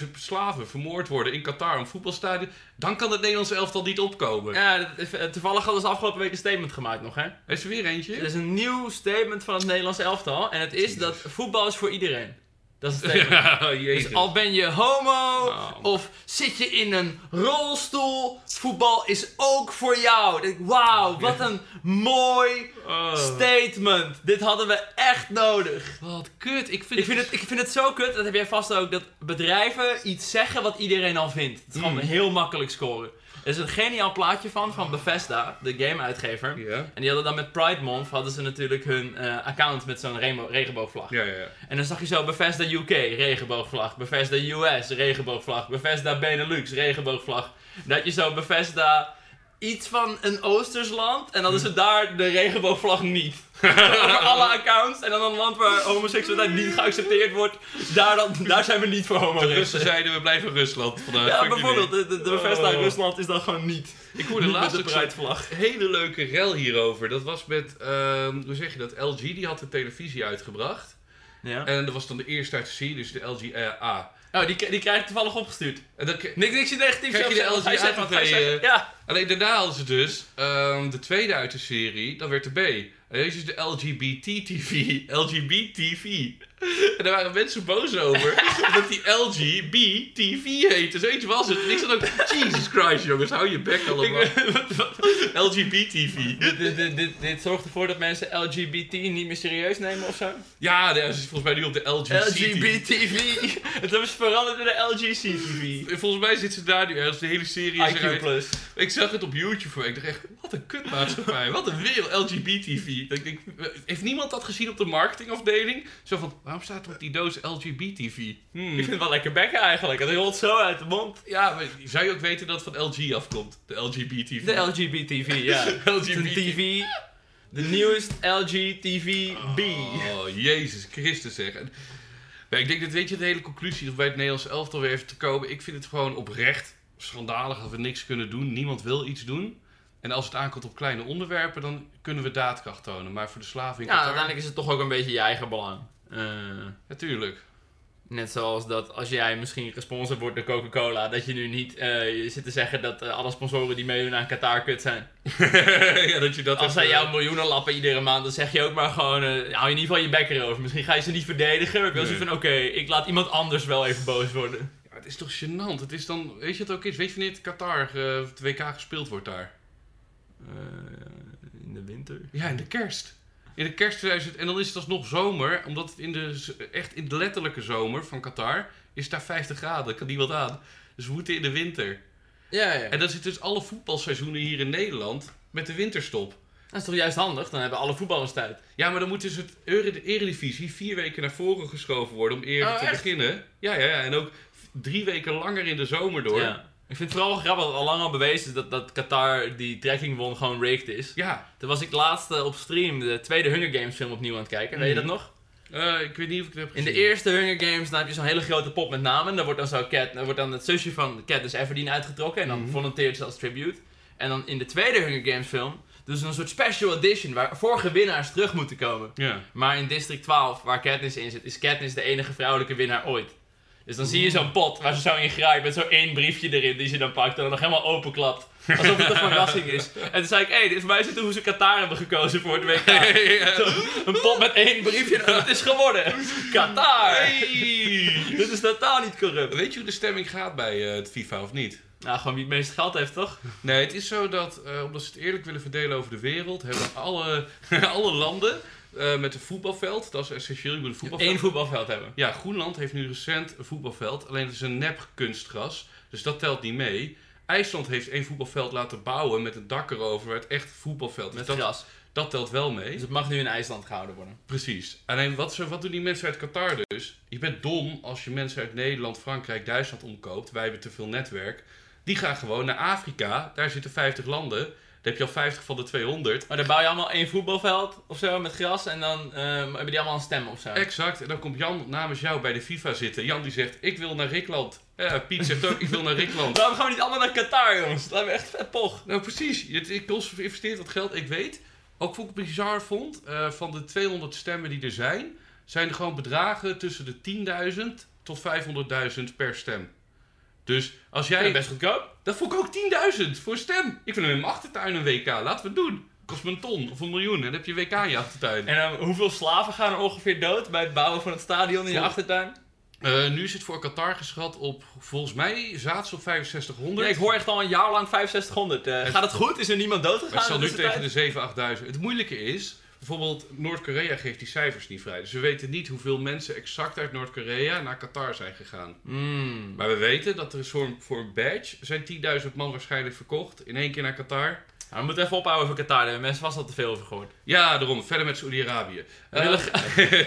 Speaker 2: 10.000 slaven vermoord worden in Qatar om voetbalstadion... Dan kan het Nederlandse elftal niet opkomen.
Speaker 1: Ja, dat- eh, toevallig hadden ze afgelopen week een statement gemaakt nog, hè?
Speaker 2: Is er weer
Speaker 1: Er
Speaker 2: eentje?
Speaker 1: is een nieuw statement van het Nederlands elftal. En het is dat voetbal is voor iedereen. Dat is het statement.
Speaker 2: Ja, jezus.
Speaker 1: Dus al ben je homo
Speaker 2: Nou.
Speaker 1: of zit je in een rolstoel, voetbal is ook voor jou. Ik denk, Wauw, wat een mooi
Speaker 2: Oh.
Speaker 1: statement. Dit hadden we echt nodig.
Speaker 2: Wat kut. Ik vind,
Speaker 1: Ik vind, het, ik vind het zo kut, dat heb jij vast ook, dat bedrijven iets zeggen wat iedereen al vindt. Het is gewoon
Speaker 2: Mm.
Speaker 1: heel makkelijk scoren. Er is een geniaal plaatje van, van Bethesda, de game-uitgever.
Speaker 2: Ja.
Speaker 1: En die hadden dan met Pride Month, hadden ze natuurlijk hun eh, account met zo'n remo- regenboogvlag.
Speaker 2: Ja, ja, ja.
Speaker 1: En dan zag je zo Bethesda UK, regenboogvlag. Bethesda US, regenboogvlag. Bethesda Benelux, regenboogvlag. Dat je zo Bethesda iets van een Oosters land en dan is het daar de regenboogvlag niet. Over alle accounts en dan een land waar homoseksualiteit niet geaccepteerd wordt, daar, dan, daar zijn we niet voor homo.
Speaker 2: De Russen zeiden we blijven Rusland vandaag. Fuck
Speaker 1: Ja,
Speaker 2: jullie.
Speaker 1: bijvoorbeeld, de, de, de Bethesda
Speaker 2: Oh.
Speaker 1: Rusland is dan gewoon niet.
Speaker 2: Ik hoorde
Speaker 1: Niet
Speaker 2: laatst
Speaker 1: met
Speaker 2: ook
Speaker 1: de
Speaker 2: zo'n
Speaker 1: Pride-vlag.
Speaker 2: hele leuke rel hierover. Dat was met, ehm, hoe zeg je dat? LG die had de televisie uitgebracht.
Speaker 1: Ja.
Speaker 2: En dat was dan de eerste uit de serie, dus de LG eh, A.
Speaker 1: Oh, die, die krijg ik toevallig opgestuurd.
Speaker 2: En dan k-
Speaker 1: Niks, niks negatiefs.
Speaker 2: Krijg je de
Speaker 1: over zeggen,
Speaker 2: LG
Speaker 1: want hij
Speaker 2: uit
Speaker 1: zegt wat hij
Speaker 2: bij,
Speaker 1: zegt. Ja.
Speaker 2: Alleen daarna hadden ze dus ehm, de tweede uit de serie, dat werd de B. En deze is de LGBT-TV. LGBT-TV. En daar waren mensen boos over, omdat die LGB-TV heette. Zoiets was het. En ik zat ook, Jesus Christ jongens, hou je bek allemaal. LGBT-TV.
Speaker 1: Dit, dit, dit, dit zorgt ervoor dat mensen LGBT niet meer serieus nemen of zo.
Speaker 2: Ja, nee, ze is volgens mij nu op de LGC.
Speaker 1: LGBTV. Het hebben ze veranderd in de LGCTV.
Speaker 2: Volgens mij zit ze daar nu ergens de hele serie is
Speaker 1: IQ
Speaker 2: eruit.
Speaker 1: plus.
Speaker 2: Ik zag het op YouTube voor. Ik dacht echt, wat een kutmaatschappij. Wat een wereld, LGBTV. Dat Ik denk, heeft niemand dat gezien op de marketingafdeling? Zo van, waarom staat er op die doos LGBTV?
Speaker 1: Ik vind het wel lekker bekken eigenlijk. Het rolt zo uit de mond.
Speaker 2: Ja, maar zou je ook weten dat het van LG afkomt? De LGBTV.
Speaker 1: De LGBTV, ja. Het is een
Speaker 2: LGBT.
Speaker 1: TV. De newest LGTVB.
Speaker 2: Oh, Jezus Christus zeg. En- maar ik denk dat weet je de hele conclusie is om bij het Nederlands elftal weer even te komen. Ik vind het gewoon oprecht schandalig dat we niks kunnen doen. Niemand wil iets doen. En als het aankomt op kleine onderwerpen, dan kunnen we daadkracht tonen. Maar voor de slaven
Speaker 1: Ja,
Speaker 2: in Qatar...
Speaker 1: Nou, uiteindelijk is het toch ook een beetje je eigen belang. Eh,
Speaker 2: Natuurlijk.
Speaker 1: Net zoals dat als jij misschien gesponsord wordt door Coca-Cola, dat je nu niet eh, zit te zeggen dat eh, alle sponsoren die meedoen aan Qatar kut zijn.
Speaker 2: ja, dat je dat
Speaker 1: Als zij
Speaker 2: even-
Speaker 1: jou miljoenen lappen iedere maand, dan zeg je ook maar gewoon, eh, hou je in ieder geval je bek erover. Misschien ga je ze niet verdedigen, maar ik wil
Speaker 2: Nee.
Speaker 1: ze van, oké, ik laat iemand anders wel even boos worden.
Speaker 2: Ja, het is toch gênant. Het is dan... Weet je het ook is? Weet je wanneer het Qatar eh, het WK gespeeld wordt daar?
Speaker 1: in de winter?
Speaker 2: Ja, in de kerst. In de kerst 2000. En dan is het alsnog zomer, omdat het in de, z- echt in de letterlijke zomer van Qatar is daar 50 graden. Kan niemand aan. Dus we moeten in de winter.
Speaker 1: Ja, ja.
Speaker 2: En dan zitten dus alle voetbalseizoenen hier in Nederland met de winterstop.
Speaker 1: Dat is toch juist handig? Dan hebben alle voetballers tijd.
Speaker 2: Ja, maar dan moet dus het Eure- de Eredivisie vier weken naar voren geschoven worden om eerder
Speaker 1: Oh,
Speaker 2: te
Speaker 1: echt?
Speaker 2: beginnen. Ja, ja, ja, en ook drie weken langer in de zomer door. Ja,
Speaker 1: Ja. Ik vind het vooral wel grappig dat al lang al bewezen is dat, dat Qatar die trekking won gewoon rigged is. Toen was ik laatst eh, op stream de tweede Hunger Games film opnieuw aan het kijken. Weet je dat
Speaker 2: Mhm.
Speaker 1: nog?
Speaker 2: Eh, ik weet niet of ik het heb
Speaker 1: In
Speaker 2: gezien.
Speaker 1: de eerste Hunger Games dan heb je zo'n hele grote pop met namen. Dan wordt dan, zo Cat, dan wordt dan het zusje van Cat, dus Everdeen, uitgetrokken. En dan
Speaker 2: Mhm.
Speaker 1: volunteert ze als tribute. En dan in de tweede Hunger Games film, dus een soort special edition waar vorige winnaars terug moeten komen.
Speaker 2: Ja.
Speaker 1: Maar in District 12, waar Katniss in zit, is Katniss de enige vrouwelijke winnaar ooit. Dus dan zie je zo'n pot waar ze zo in graait met zo één briefje erin die ze dan pakt en dan nog helemaal openklapt. Alsof het een verrassing is. En toen zei ik, hé, hey, dit is voor mij is dit hoe ze Qatar hebben gekozen voor het WK. Zo, een pot met één briefje en het is geworden. Qatar!
Speaker 2: Hey!
Speaker 1: Dit is totaal niet corrupt.
Speaker 2: Weet je hoe de stemming gaat bij eh, het FIFA of niet?
Speaker 1: Nou, gewoon wie het meeste geld heeft, toch?
Speaker 2: Nee, het is zo dat, eh, omdat ze het eerlijk willen verdelen over de wereld, hebben alle, alle landen eh, met een voetbalveld, dat is essentieel, je moet een voetbalveld.
Speaker 1: Eén voetbalveld hebben.
Speaker 2: Ja, Groenland heeft nu recent een voetbalveld, alleen het is een nep kunstgras, dus dat telt niet mee. IJsland heeft één voetbalveld laten bouwen met een dak erover, waar het echt voetbalveld is.
Speaker 1: Met
Speaker 2: Dat,
Speaker 1: gras.
Speaker 2: dat telt wel
Speaker 1: Dus
Speaker 2: mee.
Speaker 1: het mag nu in IJsland gehouden worden.
Speaker 2: Precies. Alleen wat, ze, wat doen die mensen uit Qatar dus? Je bent dom als je mensen uit Nederland, Frankrijk, Duitsland omkoopt. Wij hebben te veel netwerk. Die gaan gewoon naar Afrika. Daar zitten 50 landen. Daar heb je al 50 van de 200.
Speaker 1: Maar dan bouw je allemaal één voetbalveld of zo met gras en dan ehm, hebben die allemaal een stem of zo.
Speaker 2: Exact. En dan komt Jan namens jou bij de FIFA zitten. Jan die zegt, ik wil naar Rikland. Eh, Piet zegt ook, ik wil naar Rikland.
Speaker 1: Waarom gaan we niet allemaal naar Qatar, jongens? Dat lijkt me echt vet poch.
Speaker 2: Nou, precies. Je- Ik investeert wat geld, ik weet. Ook wat ik bizar vond, eh, van de 200 stemmen die er zijn, zijn er gewoon bedragen tussen de 10.000 tot 500.000 per stem. Dus als jij.
Speaker 1: Ja, best goedkoop.
Speaker 2: Dat vond ik ook 10.000 voor stem. Ik vind hem in mijn achtertuin een WK. Laten we het doen. Kost me een ton of een miljoen. En dan heb je WK in je achtertuin.
Speaker 1: En ehm, hoeveel slaven gaan er ongeveer dood bij het bouwen van het stadion in je
Speaker 2: Vol-
Speaker 1: achtertuin?
Speaker 2: Eh, nu is het voor Qatar geschat op, volgens mij, zaten ze op 6500.
Speaker 1: Ja, ik hoor echt al een jaar lang 6500. Eh, gaat het goed? Is er niemand dood gegaan?
Speaker 2: Maar het zal
Speaker 1: in
Speaker 2: nu
Speaker 1: tussentijd?
Speaker 2: tegen de 7, 8000. Het moeilijke is, bijvoorbeeld Noord-Korea geeft die cijfers niet vrij. Dus we weten niet hoeveel mensen exact uit Noord-Korea naar Qatar zijn gegaan.
Speaker 1: Mm.
Speaker 2: Maar we weten dat er is voor, voor een badge zijn 10.000 man waarschijnlijk verkocht. In één keer naar Qatar.
Speaker 1: Nou, we moeten even ophouden over Qatar. Daar hebben mensen vast al te veel over gehoord.
Speaker 2: Ja, daarom. Verder met Saudi-Arabië. Eh,
Speaker 1: We willen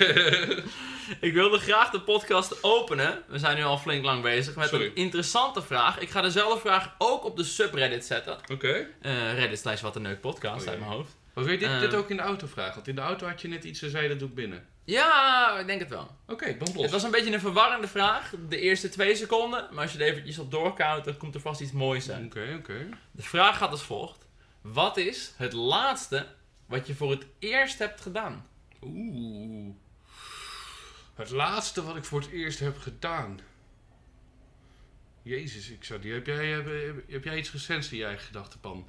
Speaker 1: Ik wilde graag de podcast openen. We zijn nu al flink lang bezig met
Speaker 2: Sorry.
Speaker 1: een interessante vraag. Ik ga dezelfde vraag ook op de subreddit zetten.
Speaker 2: Oké.
Speaker 1: Eh, Reddit slash wat een neuk podcast
Speaker 2: Oh, ja.
Speaker 1: uit mijn hoofd.
Speaker 2: Maar wil je dit, dit
Speaker 1: Ehm.
Speaker 2: ook in de auto vragen? Want in de auto had je net iets en zei dat doe ik binnen.
Speaker 1: Ja, ik denk het wel.
Speaker 2: Oké, band
Speaker 1: Het
Speaker 2: los.
Speaker 1: was een beetje een verwarrende vraag. De eerste twee seconden. Maar als je er eventjes op doorkoudt, dan komt er vast iets moois
Speaker 2: Oké,
Speaker 1: uit.
Speaker 2: oké.
Speaker 1: De vraag gaat als volgt. Wat is het laatste wat je voor het eerst hebt gedaan?
Speaker 2: Oeh. Het laatste wat ik voor het eerst heb gedaan. Jezus, ik zou die. Heb jij, heb, heb- heb jij iets recents in je eigen gedachtenpan?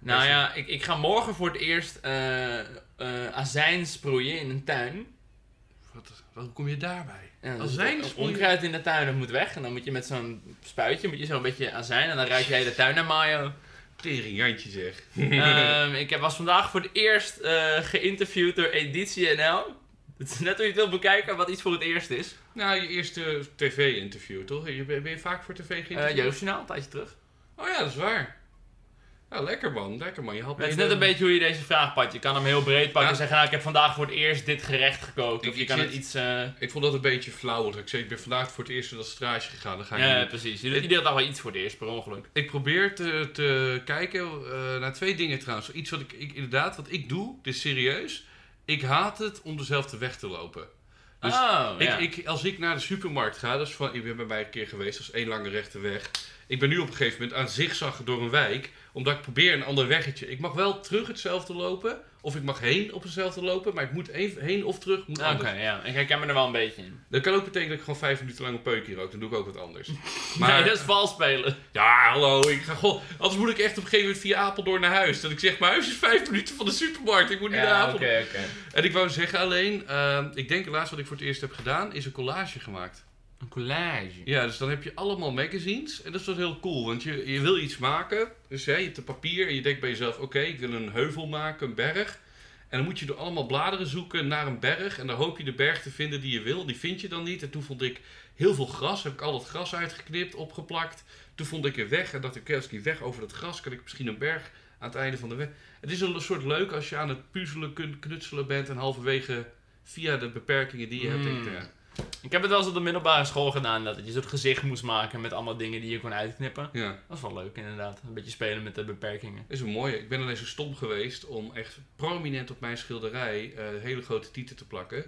Speaker 1: Nou
Speaker 2: Is-
Speaker 1: ja, ik, ik ga morgen voor het eerst eh, eh, azijn sproeien in een tuin.
Speaker 2: Wat, wat, hoe kom je daarbij?
Speaker 1: Ja,
Speaker 2: Al
Speaker 1: dus
Speaker 2: zijn
Speaker 1: het
Speaker 2: sproeien-
Speaker 1: onkruid in de tuin dat moet weg. En dan moet je met zo'n spuitje moet je zo'n beetje azijn. En dan ruik jij de tuin naar mayo.
Speaker 2: Teringjantje zeg.
Speaker 1: Ehm, ik heb- was vandaag voor het eerst eh, geïnterviewd door Editie NL. Het is net hoe je het wilt bekijken wat iets voor het eerst is.
Speaker 2: Nou, je eerste tv-interview toch? Je, ben ben je vaak voor tv
Speaker 1: Eh
Speaker 2: geïnterviewd?
Speaker 1: Jeugdjournaal, een tijdje terug.
Speaker 2: oh ja, dat is waar. Nou, lekker man, lekker man. Je had
Speaker 1: Het is
Speaker 2: me-
Speaker 1: net een beetje hoe je deze vraag pakt. Je kan hem heel breed pakken
Speaker 2: Ja.
Speaker 1: en zeggen, nou, ik heb vandaag voor het eerst dit gerecht gekookt.
Speaker 2: Ik-
Speaker 1: Of je
Speaker 2: ik
Speaker 1: kan
Speaker 2: zit-
Speaker 1: het iets... eh,
Speaker 2: Ik vond dat een beetje flauw. want Ik zei, ik ben vandaag voor het eerst naar dat straatje gegaan. Dan ga ik
Speaker 1: ja,
Speaker 2: niet-
Speaker 1: precies. Je doet iedere dag wel iets voor het eerst, per ongeluk.
Speaker 2: Ik probeer te, te kijken eh, naar twee dingen trouwens. Iets wat ik, ik inderdaad, wat ik doe, dit is serieus. Ik haat het om dezelfde weg te lopen. Dus
Speaker 1: oh, ja.
Speaker 2: Ik, ik, als ik naar de supermarkt ga, dat is van, ik ben bij mij een keer geweest, dat is één lange rechte weg. Ik ben nu op een gegeven moment aan zigzaggen door een wijk, omdat ik probeer een ander weggetje. Ik mag wel terug hetzelfde lopen, of ik mag heen op hetzelfde lopen, maar ik moet even, heen of terug, moet
Speaker 1: Ah, Oké,
Speaker 2: anders.
Speaker 1: ja. Ik herken me er wel een beetje in.
Speaker 2: Dat kan ook betekenen dat ik gewoon vijf minuten lang een peukje rook, dan doe ik ook wat anders.
Speaker 1: Maar... Nee, dat is vals spelen.
Speaker 2: Ja, hallo, ik ga goh, Anders moet ik echt op een gegeven moment via Apeldoorn naar huis. Dat ik zeg, mijn huis is vijf minuten van de supermarkt, ik moet nu naar
Speaker 1: Ja, oké,
Speaker 2: Apeldoorn.
Speaker 1: oké.
Speaker 2: En ik wou zeggen alleen, ehm, ik denk het laatste wat ik voor het eerst heb gedaan, is een collage gemaakt.
Speaker 1: Een collage.
Speaker 2: Ja, dus dan heb je allemaal magazines en dat is wel heel cool, want je, je wil iets maken. Dus hè, je hebt een papier en je denkt bij jezelf, oké, ik wil een heuvel maken, een berg. En dan moet je door allemaal bladeren zoeken naar een berg. En dan hoop je de berg te vinden die je wil. Die vind je dan niet. En toen vond ik heel veel gras. Heb ik al dat gras uitgeknipt, opgeplakt. Toen vond ik een weg. En dacht ik, oké, als ik die weg over dat gras, kan ik misschien een berg aan het einde van de weg. Het is een soort leuk als je aan het puzzelen, kun- knutselen bent. En halverwege via de beperkingen die je hebt.
Speaker 1: Hmm.
Speaker 2: denk ik, eh,
Speaker 1: Ik heb het wel eens op de middelbare school gedaan, dat je een soort gezicht moest maken met allemaal dingen die je kon uitknippen.
Speaker 2: ja.
Speaker 1: Dat is wel leuk inderdaad, een beetje spelen met de beperkingen.
Speaker 2: Is een mooie. Ik ben alleen zo stom geweest om echt prominent op mijn schilderij eh, hele grote tieten te plakken.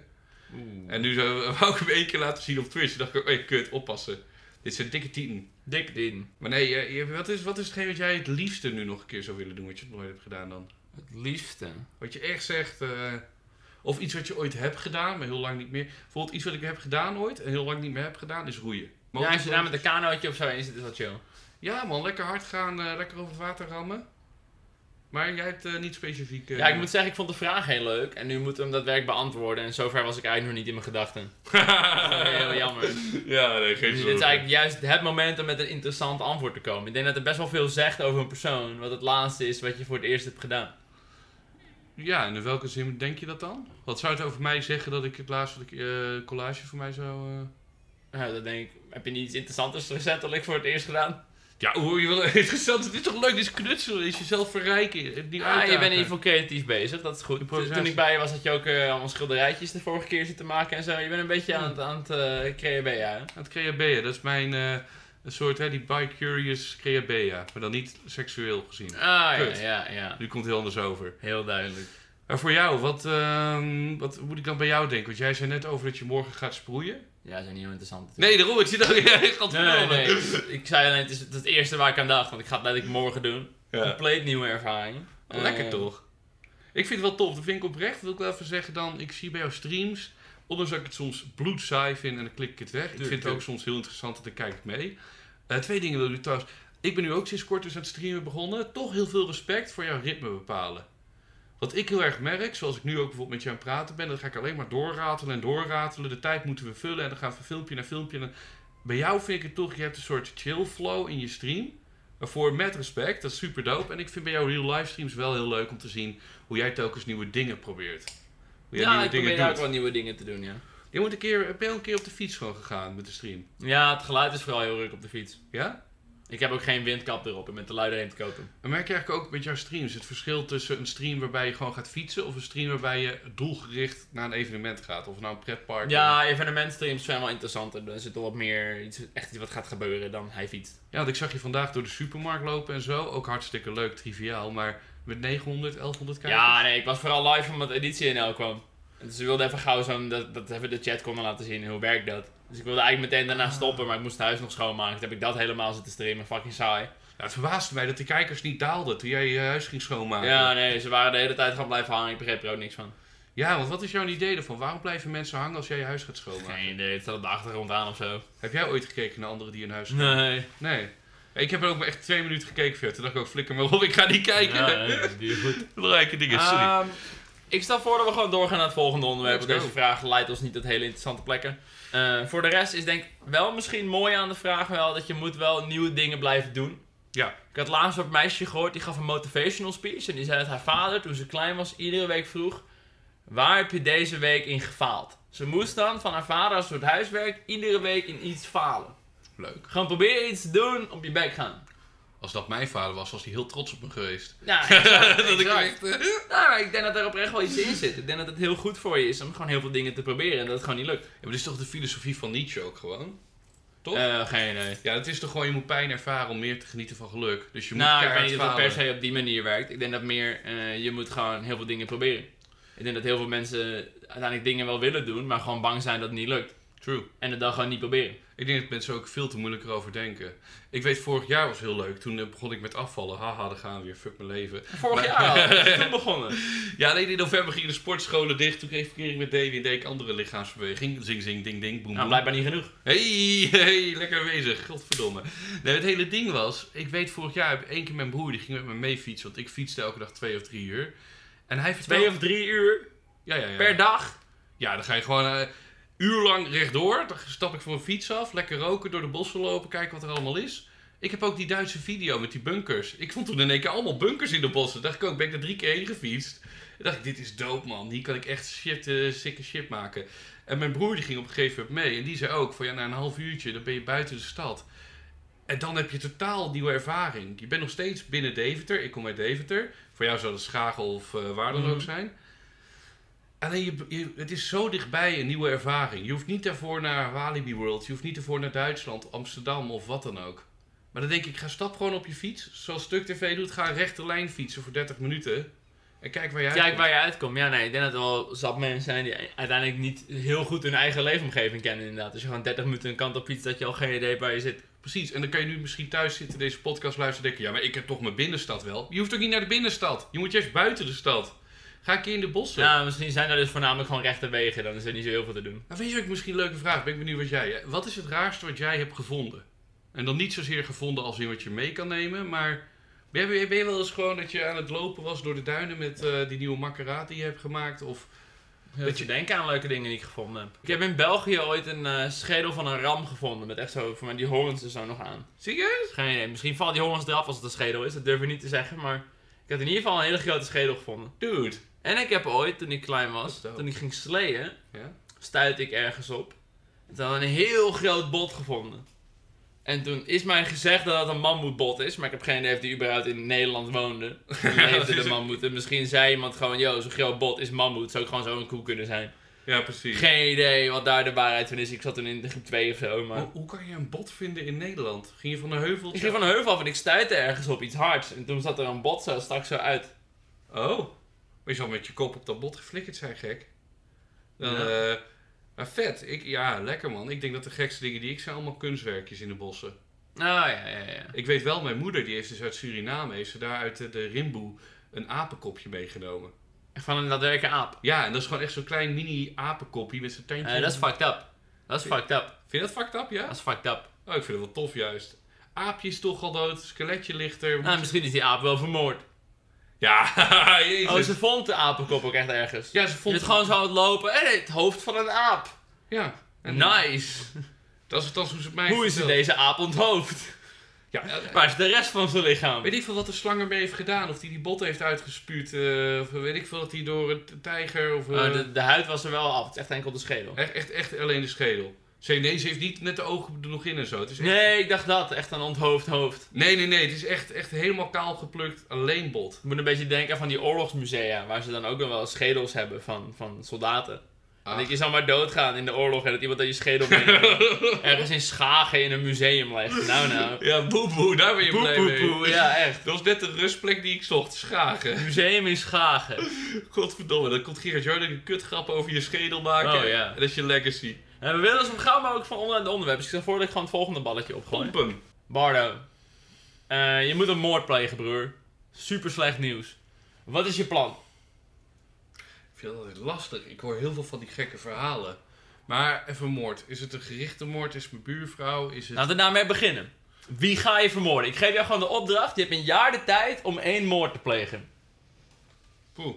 Speaker 1: Oeh.
Speaker 2: En nu eh, zou, wou ik hem één keer laten zien op Twitch. Toen dacht ik, oh, hey, kut, oppassen. Dit zijn dikke tieten.
Speaker 1: Dik din.
Speaker 2: Maar nee, eh, je- wat, is, wat is hetgeen wat jij het liefste nu nog een keer zou willen doen, wat je nog nooit hebt gedaan dan?
Speaker 1: Het liefste.
Speaker 2: Wat je echt zegt, eh, of iets wat je ooit hebt gedaan, maar heel lang niet meer. Bijvoorbeeld iets wat ik heb gedaan ooit en heel lang niet meer heb gedaan, is roeien. Maar
Speaker 1: Ja,
Speaker 2: ook-
Speaker 1: als je daar met een kanootje of zo in zit, is dat chill.
Speaker 2: Ja man, lekker hard gaan, eh, lekker over het water rammen. Maar jij hebt eh, niet specifiek... eh,
Speaker 1: Ja, ik moet zeggen, ik vond de vraag heel leuk. En nu moeten we hem dat werk beantwoorden. En zover was ik eigenlijk nog niet in mijn gedachten. Dat is heel jammer.
Speaker 2: Ja, nee, geen
Speaker 1: Dus dit is eigenlijk juist het moment om met een interessant antwoord te komen. Ik denk dat het best wel veel zegt over een persoon. Wat het laatste is wat je voor het eerst hebt gedaan.
Speaker 2: Ja, en in welke zin denk je dat dan? Wat zou het over mij zeggen dat ik het laatste wat ik, eh, collage voor mij zou... eh,
Speaker 1: Nou, dan denk ik, heb je niet iets interessanters gezet dat ik voor het eerst gedaan?
Speaker 2: Ja, hoe je wil... Interessant, dit is toch leuk, dit is knutselen, dit is jezelf verrijken. eh, Die
Speaker 1: Ah, je bent in ieder
Speaker 2: even
Speaker 1: geval creatief bezig, dat is goed.
Speaker 2: Improvisatie.
Speaker 1: Toen ik bij je was, had je ook eh, allemaal schilderijtjes de vorige keer zitten maken en zo. Je bent een beetje aan het, aan het eh, creëren.
Speaker 2: Aan het creabea, dat is mijn... eh, een soort, hè, die bi-curious creabea. Maar dan niet seksueel gezien.
Speaker 1: Ah, ja,
Speaker 2: Kut.
Speaker 1: ja, ja.
Speaker 2: Nu komt het heel anders over.
Speaker 1: Heel duidelijk.
Speaker 2: Maar voor jou, wat, ehm, wat moet ik dan bij jou denken? Want jij zei net over dat je morgen gaat sproeien.
Speaker 1: Ja, dat is niet heel interessant.
Speaker 2: Nee, daarom, ik zit al... Ja, ik had
Speaker 1: Nee, nee, nee. Ik zei alleen, het is het eerste waar ik aan dacht, want ik ga het letterlijk morgen doen.
Speaker 2: Ja.
Speaker 1: Compleet nieuwe ervaring.
Speaker 2: Lekker
Speaker 1: Eh,
Speaker 2: toch? Ik vind het wel tof. Dat vind ik oprecht. Wil ik wel even zeggen dan, ik zie bij jouw streams, ondanks dat ik het soms bloedsaai vind en dan klik ik het weg. ik
Speaker 1: Tuurlijk,
Speaker 2: vind het ook
Speaker 1: tuurlijk.
Speaker 2: soms heel interessant en dan kijk ik mee. Eh, twee dingen wil ik trouwens. Ik ben nu ook sinds kort dus aan het streamen begonnen. Toch heel veel respect voor jouw ritme bepalen. Wat ik heel erg merk, zoals ik nu ook bijvoorbeeld met jou aan het praten ben, dan ga ik alleen maar doorratelen en doorratelen. De tijd moeten we vullen en dan gaan we filmpje naar filmpje. En bij jou vind ik het toch, je hebt een soort chill flow in je stream. Voor met respect, dat is super dope. En ik vind bij jouw real live streams wel heel leuk om te zien hoe jij telkens nieuwe dingen probeert. Hoe jij
Speaker 1: Ja,
Speaker 2: nieuwe
Speaker 1: ik probeer
Speaker 2: dingen
Speaker 1: daar ook
Speaker 2: doet.
Speaker 1: wel nieuwe dingen te doen, ja.
Speaker 2: Je moet een keer, ben je al een keer op de fiets gewoon gegaan met de stream?
Speaker 1: Ja, het geluid is vooral heel ruk op de fiets.
Speaker 2: Ja?
Speaker 1: Ik heb ook geen windkap erop, ik ben te lui erin te kopen.
Speaker 2: Dan merk je eigenlijk ook met jouw streams het verschil tussen een stream waarbij je gewoon gaat fietsen of een stream waarbij je doelgericht naar een evenement gaat. Of naar een pretpark.
Speaker 1: Ja, evenementstreams zijn wel interessanter. Dan zit er wat meer, iets, echt iets wat gaat gebeuren dan hij fietst.
Speaker 2: Ja, want ik zag je vandaag door de supermarkt lopen en zo. Ook hartstikke leuk, triviaal. Maar met 900, 1100 kijkers.
Speaker 1: Ja, nee, ik was vooral live omdat editie NL kwam. En Dus ik wilde even gauw zo'n, dat, dat even de chat konden laten zien, hoe werkt dat. Dus ik wilde eigenlijk meteen daarna stoppen, maar ik moest het huis nog schoonmaken. Toen heb ik dat helemaal zitten streamen, fucking saai.
Speaker 2: Ja, Nou, het verbaasde mij dat de kijkers niet daalden toen jij je huis ging schoonmaken.
Speaker 1: Ja, nee, ze waren de hele tijd gaan blijven hangen, ik begreep er ook niks van.
Speaker 2: Ja, want wat is jouw idee ervan? Waarom blijven mensen hangen als jij je huis gaat schoonmaken?
Speaker 1: Geen idee, het staat op de achtergrond aan of zo.
Speaker 2: Heb jij ooit gekeken naar anderen die hun huis
Speaker 1: Nee.
Speaker 2: Nee. Ja, Ik heb er ook maar echt twee minuten gekeken verder. Toen dacht ik ook, flikker maar op, ik ga niet kijken.
Speaker 1: Ja, nee, dat is niet goed.
Speaker 2: Belangrijke dingen, sorry.
Speaker 1: Ehm, ik stel voor dat we gewoon doorgaan naar het volgende onderwerp.
Speaker 2: Let's
Speaker 1: Want deze
Speaker 2: go.
Speaker 1: vraag leidt ons niet tot hele interessante plekken. Eh, voor de rest is denk ik wel misschien mooi aan de vraag wel dat je moet wel nieuwe dingen blijven doen.
Speaker 2: Ja.
Speaker 1: Ik had laatst op een meisje gehoord, die gaf een motivational speech. En die zei dat haar vader, toen ze klein was, iedere week vroeg... Waar heb je deze week in gefaald? Ze moest dan van haar vader als soort huiswerk iedere week in iets falen.
Speaker 2: Leuk.
Speaker 1: Gewoon proberen iets te doen, op je bek gaan.
Speaker 2: Als dat mijn vader was, was hij heel trots op me geweest.
Speaker 1: Ja, exact,
Speaker 2: dat ik
Speaker 1: exact.
Speaker 2: echt, eh,
Speaker 1: Nou, maar ik denk dat er oprecht wel iets in zit. Ik denk dat het heel goed voor je is om gewoon heel veel dingen te proberen en dat het gewoon niet lukt.
Speaker 2: Ja, maar dit is toch de filosofie van Nietzsche ook gewoon? Toch?
Speaker 1: Eh geen idee.
Speaker 2: Ja, dat is toch gewoon, je moet pijn ervaren om meer te genieten van geluk. Dus je moet
Speaker 1: Nou, ik weet
Speaker 2: keihard
Speaker 1: niet of dat
Speaker 2: falen.
Speaker 1: per se op die manier werkt. Ik denk dat meer, eh, je moet gewoon heel veel dingen proberen. Ik denk dat heel veel mensen uiteindelijk dingen wel willen doen, maar gewoon bang zijn dat het niet lukt.
Speaker 2: True.
Speaker 1: En het dan gewoon niet proberen.
Speaker 2: Ik denk dat mensen ook veel te moeilijk erover denken. Ik weet, vorig jaar was heel leuk. Toen eh, begon ik met afvallen. Haha, daar gaan we weer. Fuck mijn leven.
Speaker 1: Vorig
Speaker 2: Maar-
Speaker 1: jaar al, dat is toen begonnen.
Speaker 2: Ja, alleen in november gingen de sportscholen dicht. Toen kreeg ik verkering met Davy en deed ik andere lichaamsbeweging. Zing, zing, ding, ding, boem,
Speaker 1: Nou,
Speaker 2: boem.
Speaker 1: blijkbaar niet genoeg.
Speaker 2: Hey, hey, lekker bezig. Godverdomme. Nee, het hele ding was, ik weet vorig jaar heb ik één keer mijn broer, die ging met me mee fietsen. Want ik fietste elke dag twee of drie uur. En hij vertelde...
Speaker 1: Twee of drie uur
Speaker 2: Ja, ja, ja.
Speaker 1: per dag.
Speaker 2: Ja, dan ga je gewoon eh uur lang rechtdoor. Dan stap ik voor een fiets af, lekker roken, door de bossen lopen, kijken wat er allemaal is. Ik heb ook die Duitse video met die bunkers. Ik vond toen in één keer allemaal bunkers in de bossen. dacht ik ook, ben ik er drie keer heen gefietst. En dacht ik, dit is dope man. Hier kan ik echt shit, eh sikke shit maken. En mijn broer die ging op een gegeven moment mee. En die zei ook, van ja, na een half uurtje, dan ben je buiten de stad. En dan heb je totaal nieuwe ervaring. Je bent nog steeds binnen Deventer. Ik kom uit Deventer. Voor jou zou dat Schagel of eh, waar dan
Speaker 1: Mhm.
Speaker 2: ook zijn. Alleen, je, je- het is zo dichtbij een nieuwe ervaring. Je hoeft niet daarvoor naar Walibi World. Je hoeft niet daarvoor naar Duitsland, Amsterdam of wat dan ook. Maar dan denk ik, ga stap gewoon op je fiets. Zoals Stuk TV doet, ga een rechte lijn fietsen voor 30 minuten. En kijk waar je
Speaker 1: Kijk
Speaker 2: uitkomt.
Speaker 1: waar je uitkomt. Ja, nee, ik denk dat er wel zat mensen zijn die uiteindelijk niet heel goed hun eigen leefomgeving kennen, inderdaad. Als je gewoon 30 minuten een kant op fietst, dat je al geen idee hebt waar je zit.
Speaker 2: Precies, en dan kan je nu misschien thuis zitten, deze podcast luisteren en denken... Ja, maar ik heb toch mijn binnenstad wel. Je hoeft ook niet naar de binnenstad. Je moet juist buiten de stad. Ga een keer in de bossen.
Speaker 1: Nou, misschien zijn er dus voornamelijk gewoon rechte wegen, dan is er niet zo heel veel te doen.
Speaker 2: Nou, vind je ook misschien een leuke vraag. Ben ik benieuwd wat jij... Wat is het raarste wat jij hebt gevonden? En dan niet zozeer gevonden als in wat je mee kan nemen, maar... Ben je, ben je wel eens gewoon dat je aan het lopen was door de duinen met eh, die nieuwe makkeraat die je hebt gemaakt? Of
Speaker 1: Dat je denken aan leuke dingen die ik gevonden heb. Ik heb in België ooit een eh, schedel van een ram gevonden. Met echt zo, voor mij, die horens er zo nog aan.
Speaker 2: zie je?
Speaker 1: Geen idee. Misschien valt die horens eraf als het een schedel is. Dat durf ik niet te zeggen. Maar ik had in ieder geval een hele grote schedel gevonden.
Speaker 2: Dude.
Speaker 1: En ik heb ooit, toen ik klein was,
Speaker 2: Wat dope.
Speaker 1: toen ik ging sleeën,
Speaker 2: Ja?
Speaker 1: stuitte ik ergens op. En toen had ik een heel groot bot gevonden. En toen is mij gezegd dat dat een mammoetbot is. Maar ik heb geen idee of die überhaupt in Nederland woonde. Toen leefde
Speaker 2: is
Speaker 1: de
Speaker 2: ook-
Speaker 1: mammoeten. Misschien zei iemand gewoon, yo, zo'n groot bot is mammoet. Zou ook gewoon zo'n koe kunnen zijn.
Speaker 2: Ja, precies.
Speaker 1: Geen idee wat daar de waarheid van is. Ik zat toen in groep 2 of zo, maar...
Speaker 2: Hoe, hoe kan je een bot vinden in Nederland? Ging je van een heuveltje?
Speaker 1: Ik ging van een heuvel af en ik stuitte ergens op iets hards. En toen zat er een bot zo straks zo uit.
Speaker 2: Oh. Maar je zal met je kop op dat bot geflikkerd zijn, gek. Dan,
Speaker 1: Ja.
Speaker 2: eh, maar vet. Ik, ja, lekker man. Ik denk dat de gekste dingen die ik zijn allemaal kunstwerkjes in de bossen.
Speaker 1: Oh ja, ja, ja.
Speaker 2: Ik weet wel, mijn moeder die heeft dus uit Suriname, heeft ze daar uit de, de Rimboe een apenkopje meegenomen.
Speaker 1: Van een daadwerkelijke aap.
Speaker 2: Ja, en dat is gewoon echt zo'n klein mini apenkopje met zijn tandje.
Speaker 1: Eh, dat is fucked up. Dat is fucked up.
Speaker 2: Vind je dat fucked up, ja?
Speaker 1: Dat is fucked up.
Speaker 2: Oh, ik vind het wel tof juist. Aapje is toch al dood, skeletje lichter.
Speaker 1: Nou, misschien is die aap wel vermoord.
Speaker 2: Ja, jezus.
Speaker 1: Oh, ze vond de apenkop ook echt ergens.
Speaker 2: Ja, ze
Speaker 1: Je
Speaker 2: vond
Speaker 1: bent gewoon zo aan het lopen. En het hoofd van een aap.
Speaker 2: Ja. En
Speaker 1: Nice.
Speaker 2: Dat is althans hoe ze het mij
Speaker 1: Hoe is het
Speaker 2: vertelt.
Speaker 1: deze aap onthoofd?
Speaker 2: Ja, eh,
Speaker 1: Waar is de rest van zijn lichaam?
Speaker 2: Weet ik veel wat de slang ermee heeft gedaan. Of die die bot heeft uitgespuurd. eh, of weet ik veel dat hij door een tijger. Of, eh,
Speaker 1: Oh, de, de huid was er wel af. Het is echt enkel de schedel.
Speaker 2: echt, echt, echt alleen de schedel. Ze, nee, ze heeft niet net de ogen er nog in en zo. Het is echt-
Speaker 1: Nee, ik dacht dat. Echt een onthoofd hoofd.
Speaker 2: nee, nee, nee. Het is echt, echt helemaal kaal geplukt. Alleen bot.
Speaker 1: Ik moet een beetje denken aan van die oorlogsmusea, waar ze dan ook nog wel schedels hebben van, van soldaten.
Speaker 2: Ah.
Speaker 1: Dat je zou maar doodgaan in de oorlog en dat iemand aan je schedel meeneemt. ergens in Schagen in een museum legt. Nou nou.
Speaker 2: Ja, boe boe. Daar ben je
Speaker 1: Poe,
Speaker 2: blij
Speaker 1: poe,
Speaker 2: mee.
Speaker 1: poe. Ja, echt.
Speaker 2: Dat was net de rustplek die ik zocht. Schagen.
Speaker 1: Museum in Schagen.
Speaker 2: Godverdomme. Dan komt Gerard Joling een kutgrap over je schedel maken.
Speaker 1: Oh, ja.
Speaker 2: En dat is je legacy.
Speaker 1: En we willen zo gauw maar ook van onder de onderwerp. Dus ik stel voor dat ik gewoon het volgende balletje opgooi.
Speaker 2: Pompen.
Speaker 1: Bardo. eh, je moet een moord plegen, broer. Super slecht nieuws. Wat is je plan?
Speaker 2: Ik vind dat altijd lastig. Ik hoor heel veel van die gekke verhalen. Maar even moord. Is het een gerichte moord? Is het mijn buurvrouw? Is het...
Speaker 1: Laten we daarmee beginnen. Wie ga je vermoorden? Ik geef jou gewoon de opdracht. Je hebt een jaar de tijd om één moord te plegen.
Speaker 2: Poeh.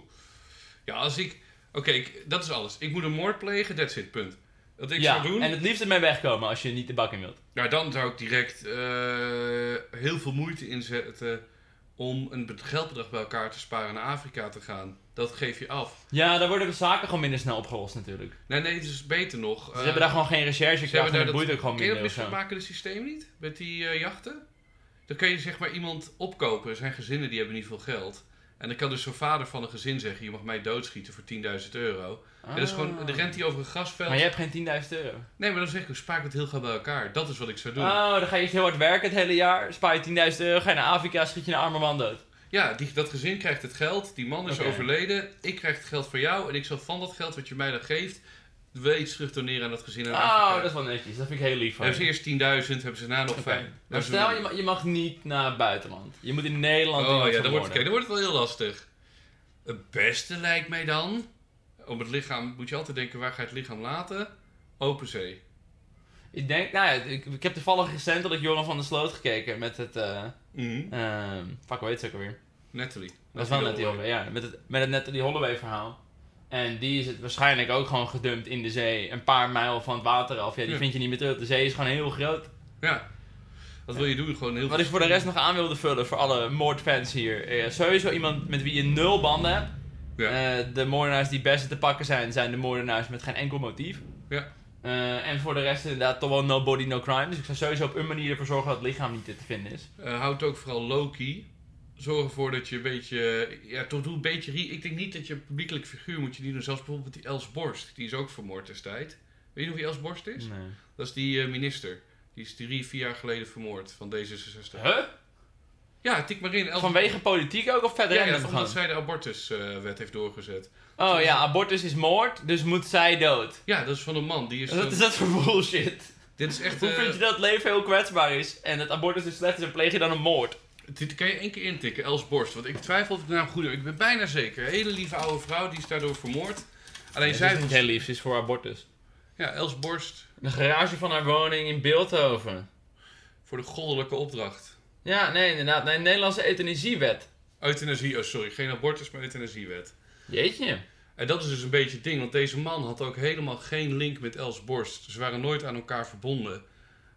Speaker 2: Ja, als ik... Oké, ik- dat is alles. Ik moet een moord plegen, that's it, punt. Dat ik
Speaker 1: ja,
Speaker 2: zou doen...
Speaker 1: en het liefst ermee wegkomen als je niet de bak in wilt.
Speaker 2: Nou, dan zou ik direct eh, heel veel moeite inzetten om een be- geldbedrag bij elkaar te sparen naar Afrika te gaan. Dat geef je af.
Speaker 1: Ja, daar worden de zaken gewoon minder snel opgelost natuurlijk.
Speaker 2: Nee, nee, het is beter nog. eh,
Speaker 1: Ze hebben daar gewoon geen recherchekracht en dat boeit ook gewoon
Speaker 2: Ken je
Speaker 1: minder
Speaker 2: dat
Speaker 1: of zo.
Speaker 2: misvermakende systeem niet? Met die eh, jachten? Dan kun je zeg maar iemand opkopen. Er zijn gezinnen die hebben niet veel geld. En dan kan dus zo'n vader van een gezin zeggen... je mag mij doodschieten voor 10.000 euro. En dat is gewoon, dan rent hij over een grasveld.
Speaker 1: Ah. Maar je hebt geen 10.000 euro.
Speaker 2: Nee, maar dan zeg ik, we spaak het heel gauw bij elkaar. Dat is wat ik zou doen.
Speaker 1: Oh, dan ga je eerst heel hard werken het hele jaar. Spaar je 10.000 euro, ga je naar Afrika, schiet je een arme man dood.
Speaker 2: Ja, die, dat gezin krijgt het geld. Die man is
Speaker 1: Oké.
Speaker 2: overleden. Ik krijg het geld van jou. En ik zal van dat geld wat je mij dan geeft... wel iets terugdoneren aan dat gezin. aan
Speaker 1: Oh,
Speaker 2: Afrika.
Speaker 1: dat is wel netjes. Dat vind ik heel lief van
Speaker 2: Hebben ze
Speaker 1: je.
Speaker 2: eerst 10.000, hebben ze na nog
Speaker 1: Oké.
Speaker 2: 5.
Speaker 1: Maar stel, je mag, je mag niet naar het buitenland. Je moet in Nederland
Speaker 2: Oh
Speaker 1: iemand
Speaker 2: ja, dan wordt,
Speaker 1: vermoorden.
Speaker 2: kijk, dan wordt het wel heel lastig. Het beste lijkt mij dan. Om het lichaam moet je altijd denken: waar ga je het lichaam laten? Open zee.
Speaker 1: Ik denk, nou ja, ik, ik heb toevallig recent dat ik Joran van der Sloot gekeken met het, eh,
Speaker 2: Mhm.
Speaker 1: ehm, fuck, hoe heet ze ook alweer?
Speaker 2: Natalie.
Speaker 1: Dat is wel net
Speaker 2: Natalie
Speaker 1: die Holloway, ja. Met het, met het net die Holloway verhaal. En die is het waarschijnlijk ook gewoon gedumpt in de zee. Een paar mijl van het water af. Ja, die
Speaker 2: Ja.
Speaker 1: vind je niet meer terug. De zee is gewoon heel groot.
Speaker 2: Ja. Wat wil je doen? Gewoon heel
Speaker 1: Wat ik voor de rest nog aan wilde vullen voor alle moordfans hier. Eh, sowieso iemand met wie je nul banden hebt.
Speaker 2: Ja.
Speaker 1: Eh, de moordenaars die best te pakken zijn, zijn de moordenaars met geen enkel motief.
Speaker 2: Ja.
Speaker 1: Eh, en voor de rest inderdaad toch wel no body, no crime. Dus ik zou sowieso op een manier ervoor zorgen dat het lichaam niet te vinden is.
Speaker 2: Eh, houd ook vooral Loki. Zorg ervoor dat je een beetje. Ja, toch doe een beetje. re- Ik denk niet dat je een publiekelijk figuur moet je niet doen. Zelfs bijvoorbeeld die Els Borst. Die is ook vermoord destijds. Weet je nog wie Els Borst is?
Speaker 1: Nee.
Speaker 2: Dat is die eh, minister. Die is drie, vier jaar geleden vermoord van D66.
Speaker 1: Huh?
Speaker 2: Ja, tik maar in. Els
Speaker 1: Vanwege politiek ook of verder
Speaker 2: Ja, ja,
Speaker 1: random
Speaker 2: omdat
Speaker 1: gewoon?
Speaker 2: zij de abortuswet heeft doorgezet.
Speaker 1: Oh ja, abortus is moord, dus moet zij dood.
Speaker 2: Ja, dat is van een man. Die is.
Speaker 1: Wat
Speaker 2: een-
Speaker 1: is dat voor bullshit?
Speaker 2: Dit is echt.
Speaker 1: Hoe
Speaker 2: eh,
Speaker 1: vind je dat het leven heel kwetsbaar is en het abortus dus slecht is en pleeg je dan een moord?
Speaker 2: eh, Dit kan je één keer intikken, Els Borst. Want ik twijfel of ik de naam goed heb. Ik ben bijna zeker. Een hele lieve oude vrouw, die is daardoor vermoord. Alleen
Speaker 1: Het
Speaker 2: zij...
Speaker 1: is niet heel lief, ze is voor abortus.
Speaker 2: Ja, Els Borst
Speaker 1: De garage van haar woning in Beeldhoven.
Speaker 2: voor de goddelijke opdracht.
Speaker 1: Ja, nee, inderdaad. Nee, Nederlandse euthanasiewet.
Speaker 2: Euthanasie, oh sorry, geen abortus, maar euthanasiewet.
Speaker 1: Jeetje.
Speaker 2: En dat is dus een beetje het ding, want deze man had ook helemaal geen link met Els Borst. Ze waren nooit aan elkaar verbonden.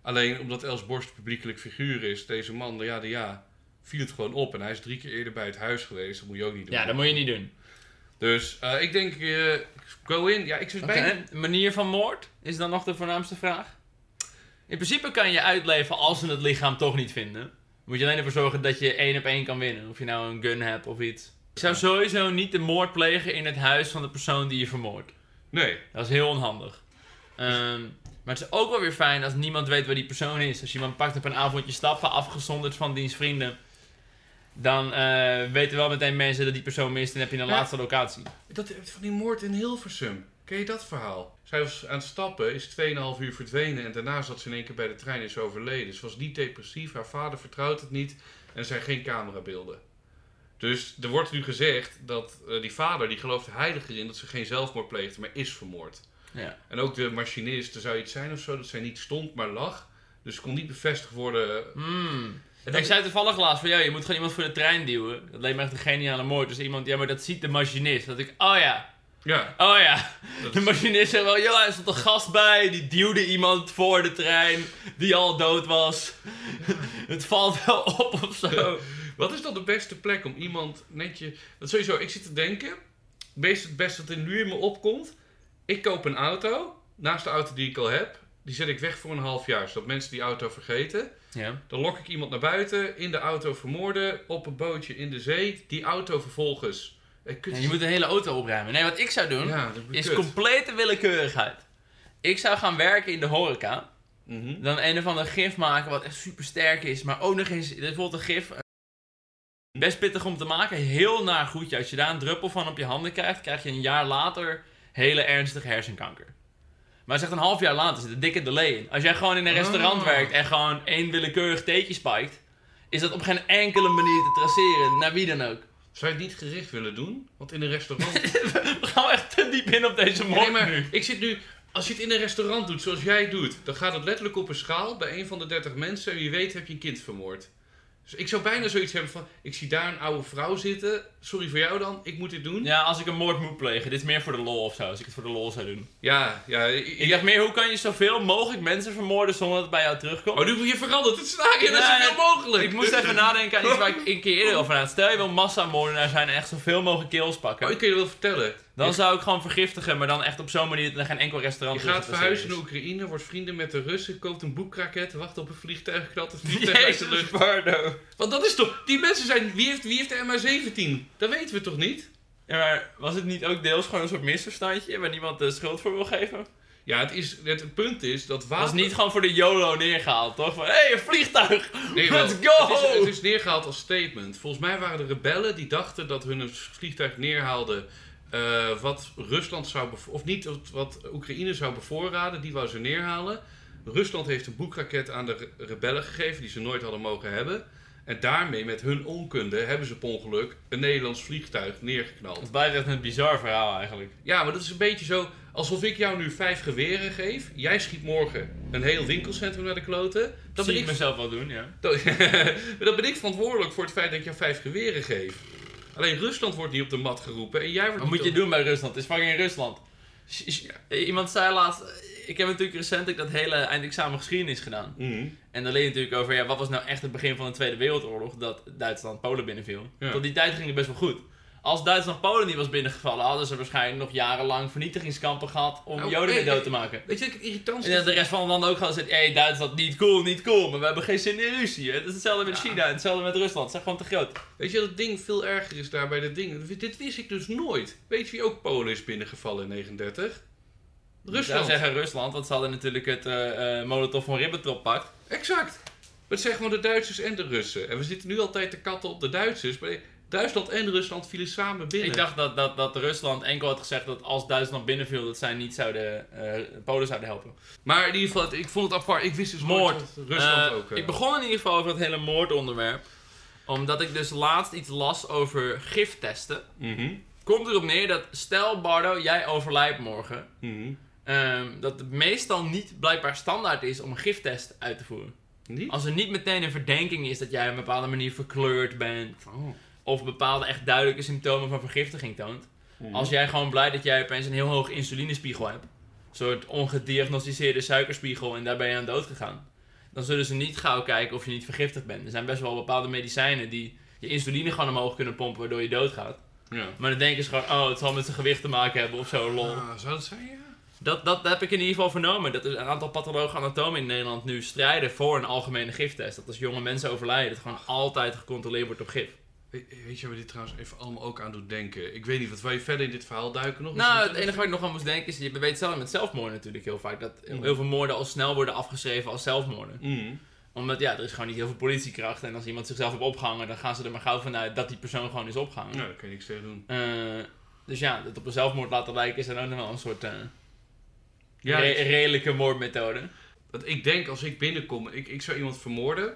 Speaker 2: Alleen omdat Els Borst publiekelijk figuur is, deze man, ja, de, ja, viel het gewoon op. En hij is drie keer eerder bij het huis geweest, dat moet je ook niet doen.
Speaker 1: Ja, dat moet je niet doen.
Speaker 2: Dus eh, ik denk, eh, go in. Ja, ik zit bijna...
Speaker 1: Oké, Manier van moord is dan nog de voornaamste vraag. In principe kan je uitleven als ze het lichaam toch niet vinden. Moet je alleen ervoor zorgen dat je één op één kan winnen. Of je nou een gun hebt of iets. Ik zou sowieso niet de moord plegen in het huis van de persoon die je vermoordt.
Speaker 2: Nee,
Speaker 1: Dat is heel onhandig. Ehm, maar het is ook wel weer fijn als niemand weet waar die persoon is. Als je iemand pakt op een avondje stappen, afgezonderd van diens vrienden. Dan eh, weten wel meteen mensen dat die persoon mist en heb je een
Speaker 2: Ja.
Speaker 1: laatste locatie.
Speaker 2: Dat, eh, van die moord in Hilversum. Ken je dat verhaal? Zij was aan het stappen, is 2,5 uur verdwenen en daarna zat ze in één keer bij de trein en is overleden. Ze was niet depressief, haar vader vertrouwt het niet en er zijn geen camerabeelden. Dus er wordt nu gezegd dat eh, die vader, die gelooft heilig erin dat ze geen zelfmoord pleegde, maar is vermoord.
Speaker 1: Ja.
Speaker 2: En ook de machinist, er zou iets zijn of zo, dat zij niet stond, maar lag. Dus kon niet bevestigd worden.
Speaker 1: Hmm.
Speaker 2: En
Speaker 1: Ik zei toevallig laatst van, ja, je moet gewoon iemand voor de trein duwen. Dat leek me echt een geniale moord. Dus iemand, ja, maar dat ziet de machinist. Dat ik, oh ja,
Speaker 2: Ja,
Speaker 1: oh ja.
Speaker 2: dat
Speaker 1: De
Speaker 2: is-
Speaker 1: machinist zei wel, joh, er stond een gast bij. Die duwde iemand voor de trein die al dood was. Het valt wel op of zo.
Speaker 2: Wat is dan de beste plek om iemand netje... Want sowieso, ik zit te denken... Wees het best dat er nu in me opkomt. Ik koop een auto, naast de auto die ik al heb. Die zet ik weg voor een half jaar, zodat mensen die auto vergeten.
Speaker 1: Ja.
Speaker 2: Dan lok ik iemand naar buiten, in de auto vermoorden, op een bootje in de zee. Die auto vervolgens... Eh, kut,
Speaker 1: Ja, je moet een hele auto opruimen. Nee, wat ik zou doen,
Speaker 2: Ja, dat is
Speaker 1: is
Speaker 2: kut.
Speaker 1: complete willekeurigheid. Ik zou gaan werken in de horeca.
Speaker 2: Mhm.
Speaker 1: Dan een of ander gif maken wat echt super sterk is. Maar ook nog eens, dit is bijvoorbeeld een gif. eh, Best pittig om te maken. Heel naar goedje. Als je daar een druppel van op je handen krijgt, krijg je een jaar later hele ernstige hersenkanker. Maar het is echt een half jaar later, zit een dikke delay in. Als jij gewoon in een restaurant
Speaker 2: Ah.
Speaker 1: werkt en gewoon één willekeurig theetje spijkt, is dat op geen enkele manier te traceren. Naar wie dan ook.
Speaker 2: Zou je het niet gericht willen doen? Want in een restaurant...
Speaker 1: We gaan echt te diep in op deze moord
Speaker 2: nee, maar
Speaker 1: nu.
Speaker 2: ik zit nu... Als je het in een restaurant doet, zoals jij doet... dan gaat het letterlijk op een schaal bij een van de 30 mensen... en wie weet heb je een kind vermoord. Dus ik zou bijna zoiets hebben van... ik zie daar een oude vrouw zitten... sorry voor jou dan, ik moet dit doen. Ja,
Speaker 1: Ja, als ik een moord moet plegen, dit is meer voor de lol of zo. Als ik het voor de lol zou doen.
Speaker 2: ja...
Speaker 1: Ik dacht meer, hoe kan je zoveel mogelijk mensen vermoorden zonder dat het bij jou terugkomt?
Speaker 2: Oh, nu moet je veranderen, het scenario, dat is
Speaker 1: Ja,
Speaker 2: zoveel mogelijk.
Speaker 1: Ik moest even nadenken aan iets waar ik een keer eerder over na. Stel je wil massamoordenaar zijn en echt zoveel mogelijk kills
Speaker 2: Oh,
Speaker 1: pakken.
Speaker 2: ik kan je wel vertellen.
Speaker 1: Dan zou ik gewoon vergiftigen, maar dan echt op zo'n manier dat er geen enkel
Speaker 2: Je
Speaker 1: restaurant
Speaker 2: gaat
Speaker 1: terug te traceren
Speaker 2: verhuizen naar Oekraïne, wordt vrienden met de Russen... koopt een boekraket, wacht op een vliegtuig, knalt het
Speaker 1: is.
Speaker 2: vliegtuig uit de
Speaker 1: Jezus,
Speaker 2: lucht.
Speaker 1: Bardo.
Speaker 2: Want dat is toch... Die mensen zijn... Wie heeft, wie heeft de MH17? Dat weten we toch niet?
Speaker 1: Ja, maar was het niet ook deels gewoon een soort misverstandje waar niemand de schuld voor wil geven?
Speaker 2: Ja, het, is, het, het punt is dat
Speaker 1: Was
Speaker 2: water...
Speaker 1: niet gewoon voor de YOLO neergehaald, toch? Van, hé, hey, een vliegtuig!
Speaker 2: Nee, wel,
Speaker 1: Let's go!
Speaker 2: Het is, het is neergehaald als statement. Volgens mij waren de rebellen die dachten dat hun een vliegtuig neerhaalden. eh, wat Rusland zou bevo- of niet wat- wat Oekraïne zou bevoorraden, die wou ze neerhalen. Rusland heeft een boekraket aan de re- rebellen gegeven die ze nooit hadden mogen hebben. En daarmee, met hun onkunde, hebben ze per ongeluk een Nederlands vliegtuig neergeknald.
Speaker 1: Het blijft echt een bizar verhaal eigenlijk.
Speaker 2: Ja, maar dat is een beetje zo alsof ik jou nu vijf geweren geef. Jij schiet morgen een heel winkelcentrum naar de kloten.
Speaker 1: Dat
Speaker 2: Dan
Speaker 1: zie
Speaker 2: ben
Speaker 1: ik
Speaker 2: ik
Speaker 1: mezelf wel doen, ja.
Speaker 2: dat, maar dan ben ik verantwoordelijk voor het feit dat ik jou vijf geweren geef. Alleen Rusland wordt niet op de mat geroepen en jij wordt
Speaker 1: Wat
Speaker 2: niet
Speaker 1: moet je
Speaker 2: op-
Speaker 1: doen bij Rusland? Het is fucking Rusland. Sh- sh- Iemand zei laatst, eh, ik heb natuurlijk recentelijk dat hele eindexamen geschiedenis gedaan.
Speaker 2: Mhm.
Speaker 1: En dan leer je natuurlijk over, ja, wat was nou echt het begin van de Tweede Wereldoorlog dat Duitsland Polen binnenviel.
Speaker 2: Ja.
Speaker 1: Tot die tijd ging het best wel goed. Als Duitsland Polen niet was binnengevallen, hadden ze waarschijnlijk nog jarenlang vernietigingskampen gehad om
Speaker 2: Nou,
Speaker 1: Joden
Speaker 2: hey,
Speaker 1: mee dood
Speaker 2: hey.
Speaker 1: te maken.
Speaker 2: Weet je wat ik het irritant
Speaker 1: En dat de rest van de landen ook gaan zeggen, hey, Duitsland, niet cool, niet cool, maar we hebben geen zin in ruzie. Het is hetzelfde met
Speaker 2: Ja.
Speaker 1: China, hetzelfde met Rusland, ze zijn gewoon te groot.
Speaker 2: Weet je dat het ding veel erger is daar bij dat ding? Dit wist ik dus nooit. Weet je wie ook Polen is binnengevallen in 39? Rusland.
Speaker 1: Ik zou zeggen Rusland, want ze hadden natuurlijk het eh, eh, Molotov van Ribbentrop pact.
Speaker 2: Exact. Het zijn gewoon de Duitsers en de Russen. En we zitten nu altijd te katten op de Duitsers. Maar Duitsland en Rusland vielen samen binnen.
Speaker 1: Ik dacht dat, dat, dat Rusland enkel had gezegd dat als Duitsland binnenviel, dat zij niet zouden, eh, Polen zouden helpen.
Speaker 2: Maar in ieder geval, het- ik vond het apart. Ik wist dus nooit
Speaker 1: Moord.
Speaker 2: dat Rusland
Speaker 1: Eh,
Speaker 2: ook. eh,
Speaker 1: Ik begon in ieder geval over het hele moordonderwerp. Omdat ik dus laatst iets las over giftesten.
Speaker 2: mhm,
Speaker 1: Komt erop neer dat, stel Bardo, jij overlijdt morgen.
Speaker 2: mhm.
Speaker 1: ehm, dat het meestal niet blijkbaar standaard is om een giftest uit te voeren.
Speaker 2: Niet?
Speaker 1: Als er niet meteen een verdenking is dat jij op een bepaalde manier verkleurd bent.
Speaker 2: Oh.
Speaker 1: Of bepaalde echt duidelijke symptomen van vergiftiging toont.
Speaker 2: Mhm.
Speaker 1: Als jij gewoon blij dat jij opeens een heel hoog insulinespiegel hebt. Een soort ongediagnosticeerde suikerspiegel en daar ben je aan dood gegaan. Dan zullen ze niet gauw kijken of je niet vergiftigd bent. Er zijn best wel bepaalde medicijnen die je insuline gewoon omhoog kunnen pompen waardoor je doodgaat.
Speaker 2: Ja.
Speaker 1: Maar dan denken ze gewoon, oh het zal met zijn gewicht te maken hebben of zo, lol.
Speaker 2: Ah, zou dat zijn, ja?
Speaker 1: Dat, dat heb ik in ieder geval vernomen. Dat er een aantal pathologen anatomen in Nederland nu strijden voor een algemene giftest. Dat als jonge mensen overlijden, dat gewoon altijd gecontroleerd wordt op gif.
Speaker 2: We- weet je waar dit trouwens even allemaal ook aan doet denken? Ik weet niet, wat wij verder in dit verhaal duiken nog?
Speaker 1: Nou,
Speaker 2: Misschien-
Speaker 1: het enige waar ik nog aan moest denken is, je weet zelf met zelfmoorden natuurlijk heel vaak, dat
Speaker 2: Mm.
Speaker 1: heel veel moorden al snel worden afgeschreven als zelfmoorden.
Speaker 2: Mhm.
Speaker 1: Omdat ja, er is gewoon niet heel veel politiekracht en als iemand zichzelf heeft opgehangen, dan gaan ze er maar gauw vanuit dat die persoon gewoon is opgehangen.
Speaker 2: Nou, daar kan je niks tegen doen.
Speaker 1: Eh, dus ja, dat op een zelfmoord laten lijken is dan ook nog wel een soort eh,
Speaker 2: Ja,
Speaker 1: re-
Speaker 2: dat-
Speaker 1: redelijke moordmethode.
Speaker 2: Want ik denk, als ik binnenkom, ik, ik zou iemand vermoorden.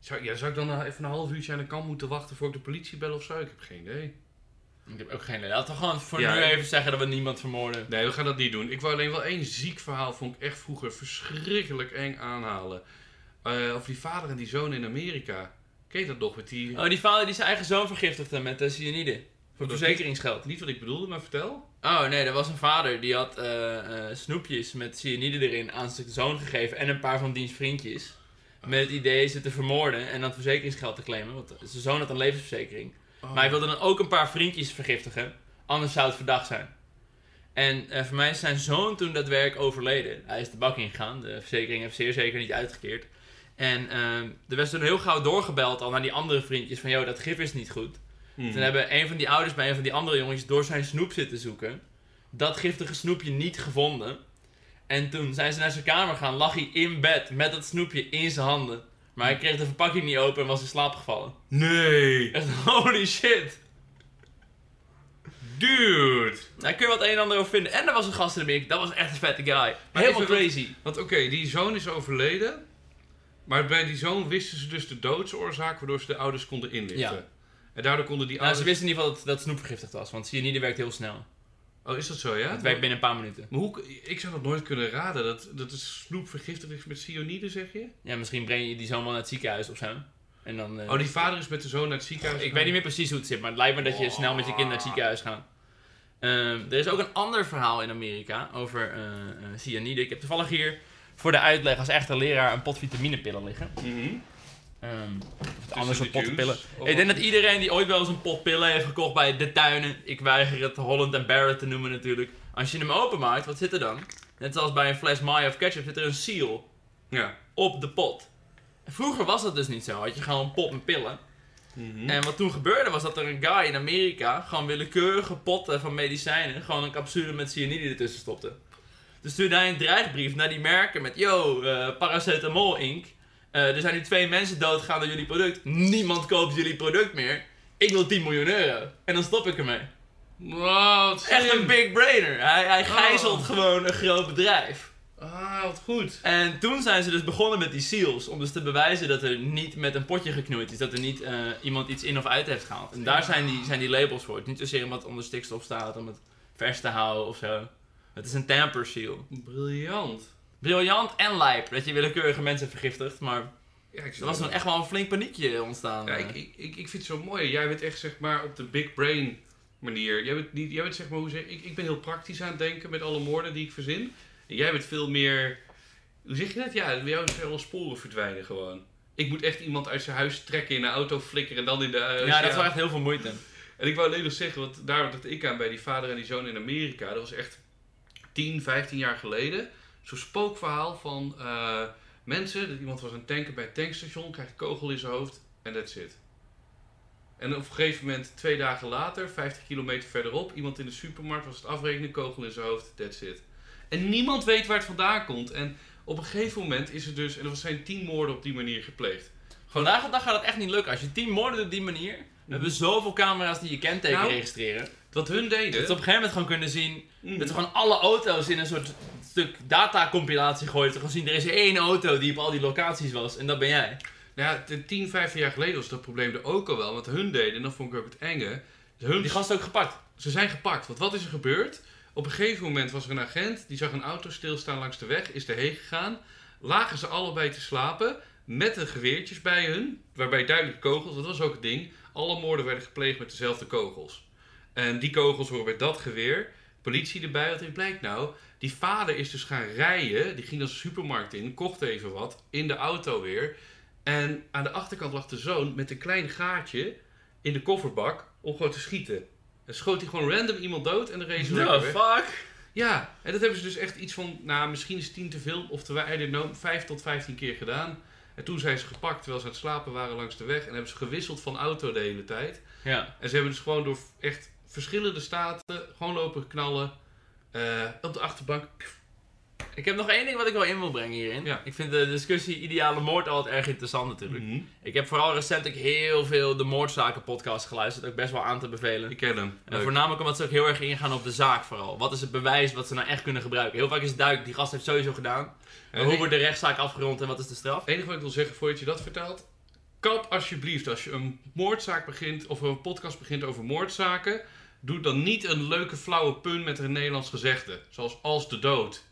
Speaker 2: Zou, ja, zou ik dan even een half uurtje aan de kant moeten wachten voor ik de politie bel of zo? Ik heb geen idee.
Speaker 1: Ik heb ook geen idee. Laten we gewoon voor
Speaker 2: Ja,
Speaker 1: nu
Speaker 2: ik-
Speaker 1: even zeggen dat we niemand vermoorden.
Speaker 2: Nee, we gaan dat niet doen. Ik wou alleen wel één ziek verhaal, vond ik echt vroeger verschrikkelijk eng aanhalen. Eh over die vader en die zoon in Amerika. Ken je dat nog met die...
Speaker 1: Oh, die vader die zijn eigen zoon vergiftigde met eh, cyanide. Voor
Speaker 2: Dat is
Speaker 1: verzekeringsgeld.
Speaker 2: Niet wat ik bedoelde, maar vertel.
Speaker 1: Oh nee, er was een vader die had eh, eh, snoepjes met cyanide erin aan zijn zoon gegeven en een paar van diens vriendjes. Met het idee ze te vermoorden en dan verzekeringsgeld te claimen, want zijn zoon had een levensverzekering. Maar hij wilde dan ook een paar vriendjes vergiftigen, anders zou het verdacht zijn. En eh, voor mij is zijn zoon toen dat werk overleden. Hij is de bak ingegaan, de verzekering heeft zeer zeker niet uitgekeerd. En ehm er werd toen heel gauw doorgebeld al naar die andere vriendjes van, joh, dat gif is niet goed.
Speaker 2: Mhm.
Speaker 1: Toen hebben een van die ouders bij een van die andere jongens door zijn snoep zitten zoeken. Dat giftige snoepje niet gevonden. En toen zijn ze naar zijn kamer gaan, lag hij in bed met dat snoepje in zijn handen. Maar hij kreeg de verpakking niet open en was in slaap gevallen.
Speaker 2: Nee!
Speaker 1: Echt, holy shit.
Speaker 2: Dude!
Speaker 1: Daar Nou, kun je wat een en ander over vinden. En er was een gast in de mik, dat was echt een vette guy. Helemaal
Speaker 2: even-
Speaker 1: crazy.
Speaker 2: Want oké, die zoon is overleden. Maar bij die zoon wisten ze dus de doodsoorzaak waardoor ze de ouders konden inlichten. En daardoor konden die
Speaker 1: Nou, ze
Speaker 2: ouders...
Speaker 1: wisten in ieder geval dat, dat snoep vergiftigd was, want cyanide werkt heel snel.
Speaker 2: Oh, is dat zo, ja?
Speaker 1: Het werkt binnen een paar minuten.
Speaker 2: Maar hoe, ik zou dat nooit kunnen raden. Dat, dat de snoep vergiftigd is met cyanide, zeg je?
Speaker 1: Ja, misschien breng je die zoon wel naar het ziekenhuis of zo. En dan, eh,
Speaker 2: Oh, die vader is met de zoon naar het ziekenhuis.
Speaker 1: Ik weet niet meer precies hoe het zit, maar het lijkt me dat je snel met je kind naar het ziekenhuis gaat. Ehm, er is ook een ander verhaal in Amerika over eh, eh, cyanide. Ik heb toevallig hier voor de uitleg als echte leraar een pot vitaminepillen liggen.
Speaker 2: Mhm.
Speaker 1: Ehm of
Speaker 2: Tussen
Speaker 1: anders
Speaker 2: de
Speaker 1: een pot
Speaker 2: juice,
Speaker 1: pillen.
Speaker 2: of
Speaker 1: ik denk
Speaker 2: wat?
Speaker 1: dat iedereen die ooit wel eens een pot pillen heeft gekocht bij de tuinen, ik weiger het Holland en Barrett te noemen natuurlijk. Als je hem openmaakt, wat zit er dan? Net zoals bij een fles mayo of ketchup zit er een seal
Speaker 2: Ja.
Speaker 1: op de pot. Vroeger was dat dus niet zo. Had je gewoon een pot met pillen.
Speaker 2: Mhm.
Speaker 1: En wat toen gebeurde was dat er een guy in Amerika gewoon willekeurige potten van medicijnen, gewoon een capsule met cyanide ertussen stopte. Dus stuurde hij een dreigbrief naar die merken met, yo, eh, paracetamol Inc. Eh, er zijn nu twee mensen doodgaan door jullie product. Niemand koopt jullie product meer. Ik wil 10 miljoen euro. En dan stop ik ermee.
Speaker 2: Wat
Speaker 1: Echt een
Speaker 2: slim.
Speaker 1: big brainer. Hij, hij gijzelt
Speaker 2: Oh.
Speaker 1: gewoon een groot bedrijf.
Speaker 2: Ah, wat goed.
Speaker 1: En toen zijn ze dus begonnen met die seals. Om dus te bewijzen dat er niet met een potje geknoeid is. Dat er niet eh, iemand iets in of uit heeft gehaald. En daar zijn die, zijn die labels voor. Het is niet zozeer omdat het onder stikstof staat. Om het vers te houden of zo. Het is een tamper seal.
Speaker 2: Briljant.
Speaker 1: Briljant en lijp. Dat je willekeurige mensen vergiftigt. Maar
Speaker 2: Ja, ik
Speaker 1: er was toen echt wel een flink paniekje ontstaan.
Speaker 2: Ja, ik, ik, ik, ik vind het zo mooi. Jij bent echt zeg maar op de big brain manier. Jij bent, niet, jij bent zeg maar hoe zeg ik, ik ben heel praktisch aan het denken met alle moorden die ik verzin. En jij bent veel meer. Hoe zeg je dat? Ja, bij jou zijn wel sporen verdwijnen gewoon. Ik moet echt iemand uit zijn huis trekken, in een auto flikkeren en dan in de.
Speaker 1: dus
Speaker 2: eh,
Speaker 1: ja, dat
Speaker 2: oceaan.
Speaker 1: was echt heel veel moeite.
Speaker 2: En ik wou alleen nog zeggen, want daar dacht ik aan bij die vader en die zoon in Amerika. Dat was echt 10, 15 jaar geleden. Zo'n spookverhaal van eh, mensen. Dat iemand was aan het tanken bij het tankstation, krijgt een kogel in zijn hoofd en that's it. En op een gegeven moment, twee dagen later, 50 kilometer verderop, iemand in de supermarkt was het afrekenen, kogel in zijn hoofd, that's it. En niemand weet waar het vandaan komt. En op een gegeven moment is het dus, en er zijn 10 moorden op die manier gepleegd.
Speaker 1: Vandaag de dag gaat het echt niet lukken. Als je tien moorden op die manier... We hebben zoveel camera's die je kenteken
Speaker 2: Nou,
Speaker 1: registreren. Dat
Speaker 2: Wat hun
Speaker 1: ze op een
Speaker 2: deden.
Speaker 1: gegeven moment gewoon kunnen zien...
Speaker 2: Mhm.
Speaker 1: Dat ze gewoon alle auto's in een soort stuk datacompilatie gooien. Dat ze gewoon zien, er is één auto die op al die locaties was. En dat ben jij.
Speaker 2: Nou ja, t- 10, 15 jaar geleden was dat probleem er ook al wel. Want hun deden, en dat vond ik ook het enge. Hun,
Speaker 1: Die gast ook gepakt.
Speaker 2: Ze zijn gepakt. Want wat is er gebeurd? Op een gegeven moment was er een agent. Die zag een auto stilstaan langs de weg. Is erheen gegaan. Lagen ze allebei te slapen. Met de geweertjes bij hun. Waarbij duidelijk kogels. Dat was ook het ding. Alle moorden werden gepleegd met dezelfde kogels. En die kogels horen bij dat geweer. Politie erbij. Wat blijkt nou? Die vader is dus gaan rijden. Die ging dan de supermarkt in. Kocht even wat. In de auto weer. En aan de achterkant lag de zoon met een klein gaatje in de kofferbak om gewoon te schieten. En schoot hij gewoon random iemand dood en dan reed ze
Speaker 1: The
Speaker 2: lekker weg.
Speaker 1: fuck?
Speaker 2: Ja, en dat hebben ze dus echt iets van, nou misschien is tien te veel, of te weinig, nou, vijf tot vijftien keer gedaan. En toen zijn ze gepakt terwijl ze aan het slapen waren langs de weg en hebben ze gewisseld van auto de hele tijd.
Speaker 1: Ja.
Speaker 2: En ze hebben dus gewoon door echt verschillende staten gewoon lopen knallen eh, op de achterbank.
Speaker 1: Ik heb nog één ding wat ik wel in wil brengen hierin.
Speaker 2: Ja. Mhm.
Speaker 1: Ik vind de discussie ideale moord altijd erg interessant natuurlijk. Ik heb vooral recentelijk heel veel de moordzaken podcast geluisterd. Ook best wel aan te bevelen.
Speaker 2: Ik ken hem.
Speaker 1: En
Speaker 2: Leuk.
Speaker 1: voornamelijk omdat ze ook heel erg ingaan op de zaak vooral. Wat is het bewijs wat ze nou echt kunnen gebruiken? Heel vaak is het duidelijk, die gast heeft sowieso gedaan.
Speaker 2: En
Speaker 1: Maar hoe
Speaker 2: ik-
Speaker 1: wordt de rechtszaak afgerond en wat is de straf?
Speaker 2: Het enige wat ik wil zeggen voordat je dat vertelt. Kap alsjeblieft, als je een moordzaak begint of een podcast begint over moordzaken. Doe dan niet een leuke flauwe pun met een Nederlands gezegde. Zoals als de dood.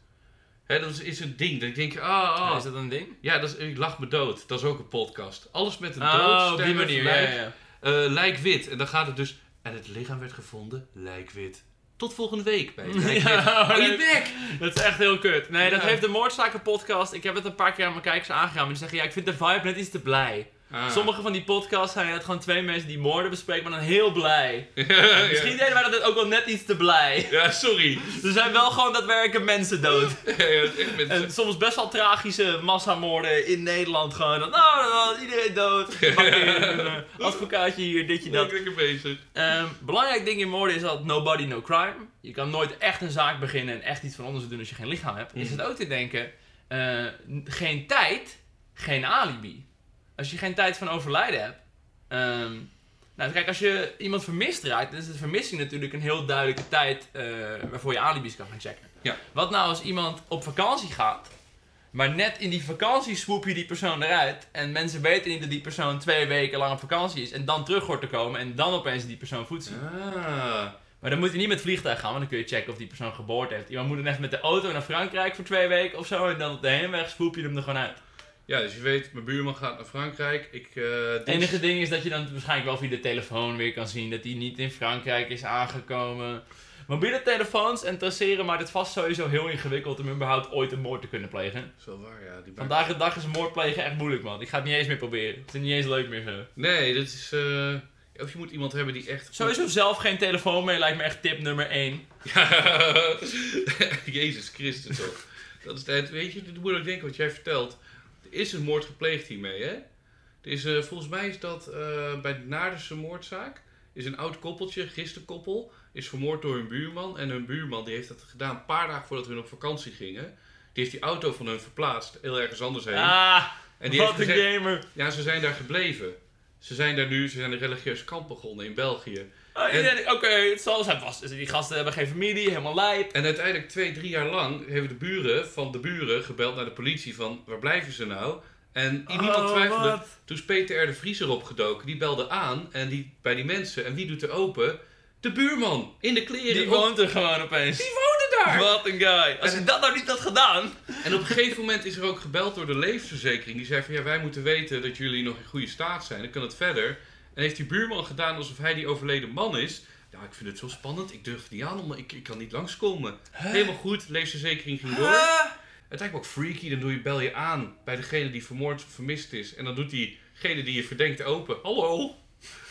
Speaker 2: Hè, dat is, is een ding. Dan denk je, ah, ah.
Speaker 1: Is dat een ding?
Speaker 2: Ja, dat is, ik lach me dood. Dat is ook een podcast. Alles met een dood.
Speaker 1: Oh, op die
Speaker 2: sterven,
Speaker 1: manier. Ja,
Speaker 2: lijk,
Speaker 1: ja, ja.
Speaker 2: eh, lijk wit. En dan gaat het dus. En het lichaam werd gevonden, lijkwit. Tot volgende week bij Lijk wit.
Speaker 1: Ja,
Speaker 2: Oh, je bek!
Speaker 1: Dat is echt heel kut. Nee, dat
Speaker 2: Ja.
Speaker 1: heeft de Moordzaken podcast. Ik heb het een paar keer aan mijn kijkers aangeraden. Maar die zeggen, ja, ik vind de vibe net iets te blij.
Speaker 2: Ah.
Speaker 1: Sommige van die podcasts zijn het gewoon twee mensen die moorden bespreken, maar dan heel blij.
Speaker 2: Ja,
Speaker 1: Misschien deden wij dat ook wel net iets te blij.
Speaker 2: ja, sorry.
Speaker 1: Er zijn wel gewoon daadwerkelijk mensen dood.
Speaker 2: Ja, dat is echt met-
Speaker 1: En soms best wel tragische massamoorden in Nederland. Gewoon dat, nou, dan was iedereen dood. Pak in, eh, advocaatje hier, ditje dat.
Speaker 2: Lekker bezig.
Speaker 1: Ehm, belangrijk ding in moorden is dat nobody, no crime. Je kan nooit echt een zaak beginnen en echt iets van onderzoek doen als je geen lichaam hebt. Is het ook te denken, eh, n- geen tijd, geen alibi. Als je geen tijd van overlijden hebt. ehm, nou, kijk, als je iemand vermist raakt, dan is de vermissing natuurlijk een heel duidelijke tijd eh, waarvoor je alibis kan gaan checken.
Speaker 2: Ja.
Speaker 1: Wat nou als iemand op vakantie gaat, maar net in die vakantie swoep je die persoon eruit en mensen weten niet dat die persoon twee weken lang op vakantie is en dan terug hoort te komen en dan opeens die persoon voedsel.
Speaker 2: Ah.
Speaker 1: Maar dan moet je niet met vliegtuig gaan, want dan kun je checken of die persoon geboorte heeft. Iemand moet dan echt met de auto naar Frankrijk voor twee weken of zo en dan op de heenweg swoep je hem er gewoon uit.
Speaker 2: Ja, dus je weet, mijn buurman gaat naar Frankrijk. Ik, eh,
Speaker 1: Het
Speaker 2: dins-
Speaker 1: enige ding is dat je dan waarschijnlijk wel via de telefoon weer kan zien dat hij niet in Frankrijk is aangekomen. Mobiele telefoons en traceren maakt het vast sowieso heel ingewikkeld om überhaupt ooit een moord te kunnen plegen.
Speaker 2: Dat is wel waar, ja. Die bui-
Speaker 1: Vandaag de dag is moord plegen echt moeilijk, man. Ik ga het niet eens meer proberen. Het is niet eens leuk meer zo.
Speaker 2: Nee, dat is... eh, Of je moet iemand hebben die echt...
Speaker 1: Sowieso zelf geen telefoon meer lijkt me echt tip nummer 1.
Speaker 2: Ja. Jezus Christus, toch. Dat is het. Weet je, dat moet ik denken wat jij vertelt. Er is een moord gepleegd hiermee, hè? Er is, eh, volgens mij is dat eh, bij de Naardense moordzaak. Is een oud koppeltje, gisterkoppel, is vermoord door hun buurman. En hun buurman die heeft dat gedaan een paar dagen voordat hun op vakantie gingen. Die heeft die auto van hun verplaatst, heel ergens anders heen.
Speaker 1: Ah,
Speaker 2: en die
Speaker 1: wat
Speaker 2: heeft
Speaker 1: een
Speaker 2: gezegd-
Speaker 1: gamer.
Speaker 2: Ja, ze zijn daar gebleven. Ze zijn daar nu, ze zijn een religieus kamp begonnen in België.
Speaker 1: Oh, iedereen- Oké, het zal zijn vast. Die gasten hebben geen familie, helemaal lijp.
Speaker 2: En uiteindelijk twee, drie jaar lang hebben de buren van de buren gebeld naar de politie van waar blijven ze nou? En niemand
Speaker 1: Oh,
Speaker 2: twijfelde.
Speaker 1: wat?
Speaker 2: Toen is Peter R. de Vries erop gedoken. Die belde aan en die, bij die mensen. En wie doet er open? De buurman in de kleren.
Speaker 1: Die
Speaker 2: op-
Speaker 1: woont er gewoon opeens.
Speaker 2: die woonde daar!
Speaker 1: Wat een guy. Als hij dat nou niet had gedaan.
Speaker 2: En op een gegeven moment is er ook gebeld door de levensverzekering. Die zei van ja, wij moeten weten dat jullie nog in goede staat zijn. Dan kan het verder. En heeft die buurman gedaan alsof hij die overleden man is. Ja, ik vind het zo spannend. Ik durf het niet aan, omdat ik, ik kan niet langskomen. Helemaal goed, leefverzekering ging door.
Speaker 1: Ah.
Speaker 2: Het lijkt me ook freaky, dan doe je, bel je aan bij degene die vermoord of vermist is. En dan doet diegene die je verdenkt open. Hallo?